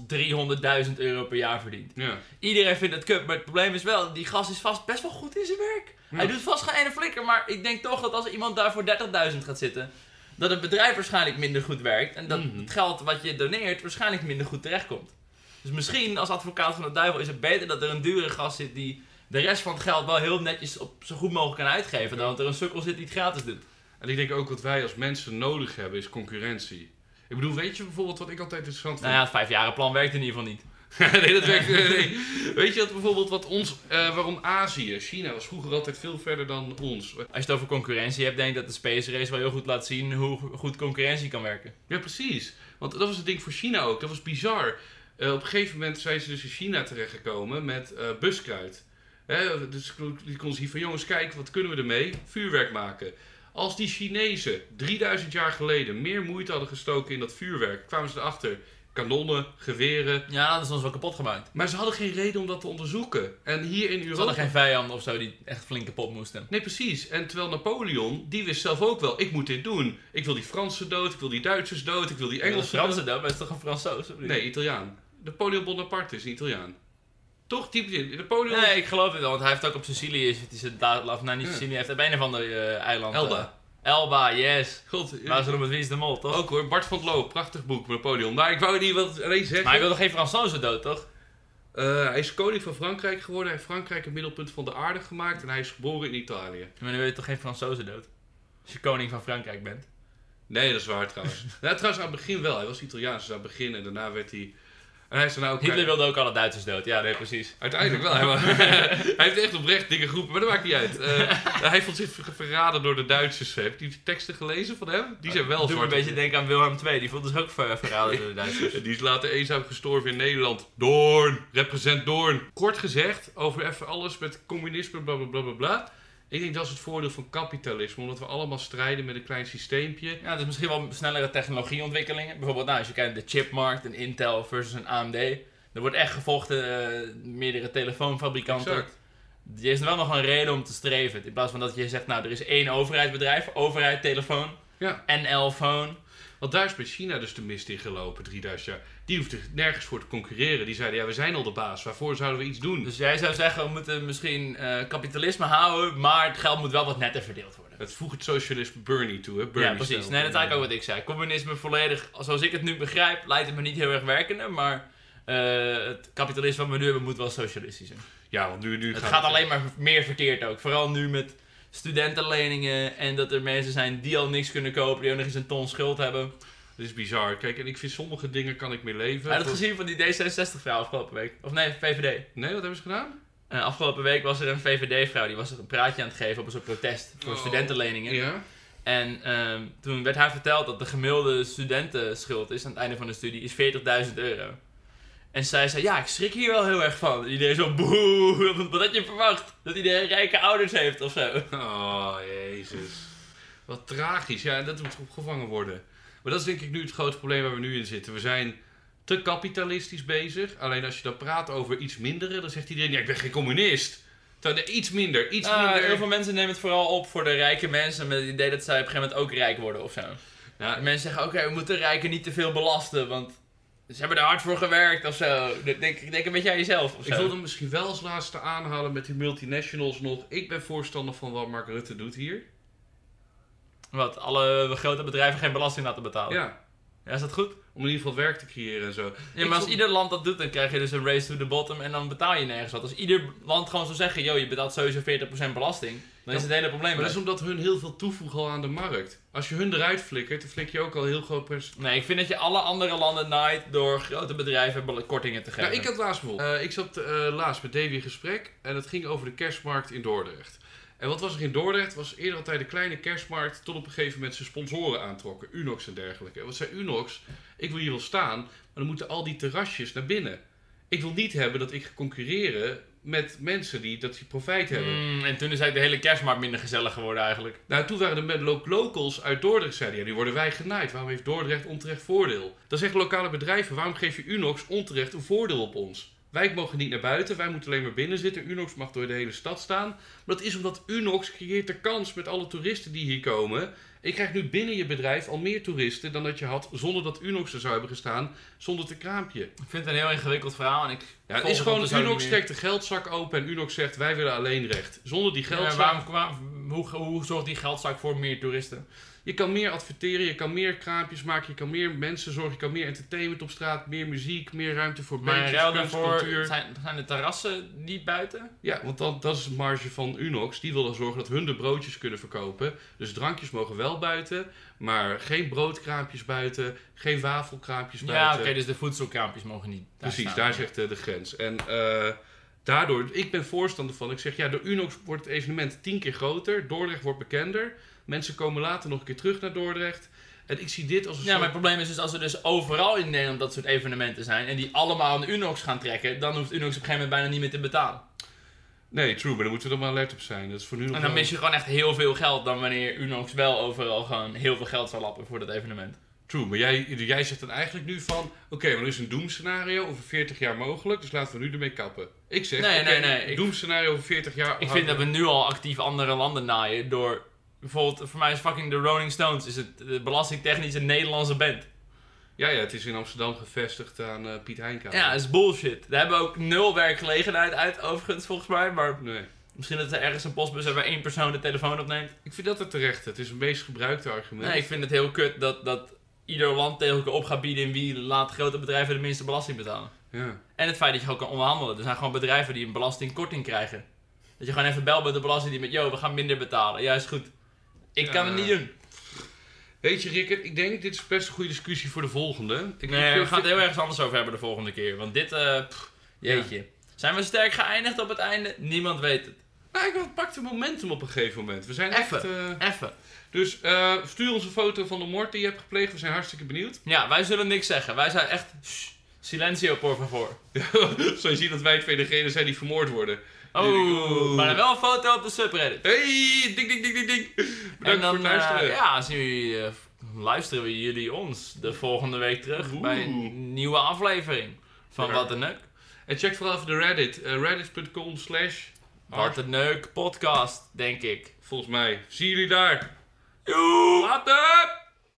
Speaker 1: 300.000 euro per jaar verdient.
Speaker 2: Ja.
Speaker 1: Iedereen vindt het kut, maar het probleem is wel, die gast is vast best wel goed in zijn werk.
Speaker 2: Ja.
Speaker 1: Hij doet vast geen ene flikker, maar ik denk toch dat als er iemand daar voor 30.000 gaat zitten, dat het bedrijf waarschijnlijk minder goed werkt en dat
Speaker 2: Mhm.
Speaker 1: het geld wat je doneert waarschijnlijk minder goed terechtkomt. Dus misschien als advocaat van de duivel is het beter dat er een dure gast zit die de rest van het geld wel heel netjes op zo goed mogelijk kan uitgeven, dan dat er een sukkel zit die het gratis doet.
Speaker 2: En ik denk ook wat wij als mensen nodig hebben, is concurrentie. Ik bedoel, weet je bijvoorbeeld wat ik altijd interessant vind?
Speaker 1: Nou ja, het vijfjarenplan werkt in ieder geval niet.
Speaker 2: nee, dat werkt. eh, nee. Weet je dat bijvoorbeeld wat ons. eh, waarom Azië? China was vroeger altijd veel verder dan ons.
Speaker 1: Als je het over concurrentie hebt, denk ik dat de Space Race wel heel goed laat zien hoe goed concurrentie kan werken.
Speaker 2: Ja, precies. Want dat was het ding voor China ook. Dat was bizar. Eh, op een gegeven moment zijn ze dus in China terechtgekomen met eh, buskruid. Hè, dus die kon zien van jongens, kijk, wat kunnen we ermee? Vuurwerk maken. Als die Chinezen 3000 jaar geleden meer moeite hadden gestoken in dat vuurwerk, kwamen ze erachter. Kanonnen, geweren.
Speaker 1: Ja, dat is ons wel kapot gemaakt.
Speaker 2: Maar ze hadden geen reden om dat te onderzoeken. En hier in
Speaker 1: Ze
Speaker 2: Europa.
Speaker 1: hadden geen vijanden of zo die echt flink kapot moesten.
Speaker 2: Nee, precies. En terwijl Napoleon, die wist zelf ook wel, ik moet dit doen. Ik wil die Fransen dood, ik wil die Duitsers dood, ik wil die
Speaker 1: Engels,
Speaker 2: Engelsen
Speaker 1: Fransen dan, maar het is toch een Fransoos? of niet?
Speaker 2: Nee, Italiaan. Napoleon Bonaparte is een Italiaan. Toch? Die, Napoleon...
Speaker 1: Nee, ik geloof het wel, want hij heeft ook op Sicilië, is het is het daar, of nou niet
Speaker 2: Ja.
Speaker 1: Sicilië, hij heeft op een of ander eh, eiland.
Speaker 2: Elba.
Speaker 1: eh, Elba, yes.
Speaker 2: God, eh,
Speaker 1: Waar ze om het wie is de mol, toch?
Speaker 2: ook hoor. Bart van het Loo, prachtig boek, Napoleon. Maar ik wou niet wat alleen zeggen.
Speaker 1: Maar hij wilde geen Fransozen dood, toch?
Speaker 2: Eh, hij is koning van Frankrijk geworden. Hij heeft Frankrijk het middelpunt van de aarde gemaakt. En hij is geboren in Italië.
Speaker 1: Maar dan wil je toch geen Fransozen dood? Als je koning van Frankrijk bent.
Speaker 2: Nee, dat is waar trouwens. nou, trouwens, aan het begin wel. Hij was Italiaans dus aan het begin. En daarna werd hij... En hij is daarna ook...
Speaker 1: Hitler wilde ook alle Duitsers dood, ja, nee, precies.
Speaker 2: Uiteindelijk wel. Hij, wa- hij heeft echt oprecht dingen geroepen, maar dat maakt niet uit. Eh, hij vond zich ver- verraden door de Duitsers. Heb je die teksten gelezen van hem? Die zijn wel
Speaker 1: Doe me een
Speaker 2: zwart.
Speaker 1: beetje denken aan Wilhelm II, die vond dus ook ver- verraden door de Duitsers.
Speaker 2: En Die is later eenzaam gestorven in Nederland. Doorn, represent Doorn. Kort gezegd, over even alles met communisme, bla bla bla bla bla. Ik denk dat is het voordeel van kapitalisme, omdat we allemaal strijden met een klein systeempje.
Speaker 1: Ja, dus misschien wel snellere technologieontwikkelingen. Bijvoorbeeld, nou, als je kijkt naar de chipmarkt, een Intel versus een AMD. Er wordt echt gevochten, eh, meerdere telefoonfabrikanten.
Speaker 2: Exact.
Speaker 1: Er is wel nog een reden om te streven. In plaats van dat je zegt, nou, er is één overheidsbedrijf, overheid, telefoon,
Speaker 2: Ja,
Speaker 1: NL-phone.
Speaker 2: want daar is bij China dus de mist in gelopen, 3000 jaar. Die hoefde nergens voor te concurreren. Die zeiden, ja, we zijn al de baas. Waarvoor zouden we iets doen?
Speaker 1: Dus jij zou zeggen, we moeten misschien eh, kapitalisme houden, maar het geld moet wel wat netter verdeeld worden.
Speaker 2: Het voegt het socialisme Bernie toe, hè? Bernie
Speaker 1: ja, precies.
Speaker 2: stelde.
Speaker 1: Nee, dat is eigenlijk ook wat ik zei. Communisme volledig, zoals ik het nu begrijp, lijkt het me niet heel erg werkende, maar eh, het kapitalisme wat we nu hebben moet wel socialistisch zijn.
Speaker 2: Ja, want nu, nu
Speaker 1: Het gaat alleen maar meer verkeerd ook. Vooral nu met studentenleningen en dat er mensen zijn die al niks kunnen kopen, die ook nog eens een ton schuld hebben.
Speaker 2: Het is bizar. Kijk, en ik vind sommige dingen kan ik mee leven.
Speaker 1: Heb je dat
Speaker 2: Voor-
Speaker 1: gezien van die D66-vrouw afgelopen week? Of nee, VVD.
Speaker 2: Nee, wat hebben ze gedaan?
Speaker 1: Eh, afgelopen week was er een VVD-vrouw die was een praatje aan het geven op een soort protest voor
Speaker 2: Oh.
Speaker 1: studentenleningen.
Speaker 2: Ja.
Speaker 1: En ehm, toen werd haar verteld dat de gemiddelde studentenschuld is aan het einde van de studie is 40.000 euro. En zij zei, ja, ik schrik hier wel heel erg van. En iedereen zo, boe, wat had je verwacht? Dat iedereen rijke ouders heeft of zo.
Speaker 2: Oh, jezus. Wat tragisch. Ja, en dat moet opgevangen worden. Maar dat is denk ik nu het grote probleem waar we nu in zitten. We zijn te kapitalistisch bezig. Alleen als je dan praat over iets mindere, dan zegt iedereen... Ja, ik ben geen communist. Terwijl, nee, iets minder, iets
Speaker 1: Ah,
Speaker 2: minder.
Speaker 1: heel veel mensen nemen het vooral op voor de rijke mensen met het idee dat zij op een gegeven moment ook rijk worden of zo.
Speaker 2: Nou,
Speaker 1: En mensen zeggen, oké, we moeten rijken niet te veel belasten, want ze hebben er hard voor gewerkt of zo. Denk, denk, denk een beetje aan jezelf of zo.
Speaker 2: Ik wilde hem misschien wel als laatste aanhalen met die multinationals nog. Ik ben voorstander van wat Mark Rutte doet hier.
Speaker 1: Wat, alle eh, grote bedrijven geen belasting laten betalen. Ja,
Speaker 2: Ja,
Speaker 1: is dat goed?
Speaker 2: om in ieder geval werk te creëren en zo.
Speaker 1: Ja,
Speaker 2: Ik
Speaker 1: maar als
Speaker 2: vond-
Speaker 1: ieder land dat doet, dan krijg je dus een race to the bottom en dan betaal je nergens wat. Als ieder land gewoon zou zeggen, joh, je betaalt sowieso 40% belasting, dan is het hele probleem
Speaker 2: Maar dat
Speaker 1: weg.
Speaker 2: is omdat hun heel veel toevoegen al aan de markt. Als je hun eruit flikkert, dan flik je ook al heel groot percentage.
Speaker 1: Nee, ik vind dat je alle andere landen naait door grote bedrijven bela- kortingen te geven.
Speaker 2: Nou, ik had laatst bijvoorbeeld. eh, ik zat eh, laatst met Davy in gesprek en het ging over de kerstmarkt in Dordrecht. En wat was er in Dordrecht? Was eerder altijd een kleine kerstmarkt tot op een gegeven moment zijn sponsoren aantrokken. Unox en dergelijke. En wat zei Unox? Ik wil hier wel staan, maar dan moeten al die terrasjes naar binnen. Ik wil niet hebben dat ik ga concurreren met mensen die, dat die profijt hebben.
Speaker 1: Mm, en toen is eigenlijk de hele kerstmarkt minder gezellig geworden eigenlijk.
Speaker 2: Nou, toen waren de met- lo- locals uit Dordrecht, zeiden ja, die worden wij genaaid. Waarom heeft Dordrecht onterecht voordeel? Dan zeggen lokale bedrijven, waarom geef je Unox onterecht een voordeel op ons? Wij mogen niet naar buiten, wij moeten alleen maar binnen zitten. Unox mag door de hele stad staan. Maar dat is omdat Unox creëert de kans met alle toeristen die hier komen. Je krijgt nu binnen je bedrijf al meer toeristen dan dat je had zonder dat Unox er zou hebben gestaan, zonder het kraampje.
Speaker 1: Ik vind het een heel ingewikkeld verhaal en ik
Speaker 2: Ja, het
Speaker 1: volg dus
Speaker 2: is
Speaker 1: op
Speaker 2: gewoon,
Speaker 1: de zo'n
Speaker 2: Unox
Speaker 1: manier.
Speaker 2: trekt de geldzak open en Unox zegt, wij willen alleen recht. Zonder die
Speaker 1: Ja, maar
Speaker 2: geldzak...
Speaker 1: waarom, waarom- hoe, hoe zorgt die geldzak voor meer toeristen?
Speaker 2: Je kan meer adverteren, je kan meer kraampjes maken, je kan meer mensen zorgen, je kan meer entertainment op straat, meer muziek, meer ruimte voor
Speaker 1: Maar in
Speaker 2: bandjes,
Speaker 1: ruil
Speaker 2: kunst,
Speaker 1: daarvoor
Speaker 2: cultuur.
Speaker 1: zijn, zijn de terrassen niet buiten?
Speaker 2: Ja, want dan, dat is het marge van Unox. Die wil dan zorgen dat hun de broodjes kunnen verkopen. Dus drankjes mogen wel buiten, maar geen broodkraampjes buiten, geen wafelkraampjes
Speaker 1: Ja,
Speaker 2: buiten.
Speaker 1: oké, dus de voedselkraampjes mogen niet
Speaker 2: Precies,
Speaker 1: staan.
Speaker 2: daar zegt eh, de grens. En eh, daardoor, ik ben voorstander van, ik zeg ja, door Unox wordt het evenement tien keer groter, Dordrecht wordt bekender, mensen komen later nog een keer terug naar Dordrecht. En ik zie dit als een
Speaker 1: Ja, maar
Speaker 2: soort-
Speaker 1: het probleem is dus als er dus overal in Nederland dat soort evenementen zijn en die allemaal aan Unox gaan trekken, dan hoeft Unox op een gegeven moment bijna niet meer te betalen.
Speaker 2: Nee, true, maar daar moeten we dan maar alert op zijn. Dat is voor nu nog
Speaker 1: En dan
Speaker 2: wel-
Speaker 1: mis je gewoon echt heel veel geld dan wanneer Unox wel overal gewoon heel veel geld zou lappen voor dat evenement.
Speaker 2: True, maar jij, jij zegt dan eigenlijk nu van... Oké, maar er is een doemscenario over 40 jaar mogelijk, dus laten we nu ermee kappen. Ik zeg,
Speaker 1: Nee,
Speaker 2: oké,
Speaker 1: nee, nee, ik-
Speaker 2: doemscenario over 40 jaar...
Speaker 1: Ik vind dat we nu al actief andere landen naaien door bijvoorbeeld, voor mij is fucking de Rolling Stones, is het eh, belastingtechnisch een Nederlandse band.
Speaker 2: Ja, ja, het is in Amsterdam gevestigd aan eh, Piet Heinka.
Speaker 1: Ja, dat is bullshit. Daar hebben we ook nul werkgelegenheid uit overigens volgens mij, maar
Speaker 2: Nee.
Speaker 1: misschien dat er ergens een postbus hebben waar één persoon de telefoon opneemt.
Speaker 2: Ik vind dat het terecht. Het is het meest gebruikte argument.
Speaker 1: Nee, ik vind het heel kut dat, dat ieder land tegen elkaar op gaat bieden in wie laat grote bedrijven de minste belasting betalen.
Speaker 2: Ja.
Speaker 1: En het feit dat je gewoon kan onderhandelen. Er zijn gewoon bedrijven die een belastingkorting kringen. Dat je gewoon even belt met de belastingdienst met, yo, we gaan minder betalen. Ja, is goed. Ik kan
Speaker 2: Ja.
Speaker 1: het niet doen.
Speaker 2: Weet je, Rickert, ik denk dit is best een goede discussie voor de volgende. Ik
Speaker 1: Nee,
Speaker 2: ik-
Speaker 1: we gaan het heel ergens anders over hebben de volgende keer. Want dit, eh, pff, jeetje. Zijn we sterk geëindigd op het einde? Niemand weet het.
Speaker 2: Nou, ik pak de momentum op een gegeven moment. We zijn echt... eh,
Speaker 1: Even.
Speaker 2: Dus eh, stuur ons een foto van de moord die je hebt gepleegd. We zijn hartstikke benieuwd.
Speaker 1: Ja, wij zullen niks zeggen. Wij zijn echt... Shh, silencio, por favor.
Speaker 2: Zo zie je dat wij twee degenen zijn die vermoord worden.
Speaker 1: Oh, maar dan wel een foto op de subreddit.
Speaker 2: Hey, ding, ding, ding, ding, ding. Bedankt
Speaker 1: en dan,
Speaker 2: voor het luisteren.
Speaker 1: eh, ja, zien jullie, eh, luisteren we jullie ons de volgende week terug
Speaker 2: Oeh.
Speaker 1: bij een nieuwe aflevering van
Speaker 2: Ja.
Speaker 1: Wat een Neuk.
Speaker 2: En check vooral even de Reddit. eh, Reddit.com slash
Speaker 1: Wat een Neuk podcast, denk ik.
Speaker 2: Volgens mij. Zie jullie daar.
Speaker 1: Joep!
Speaker 2: Later!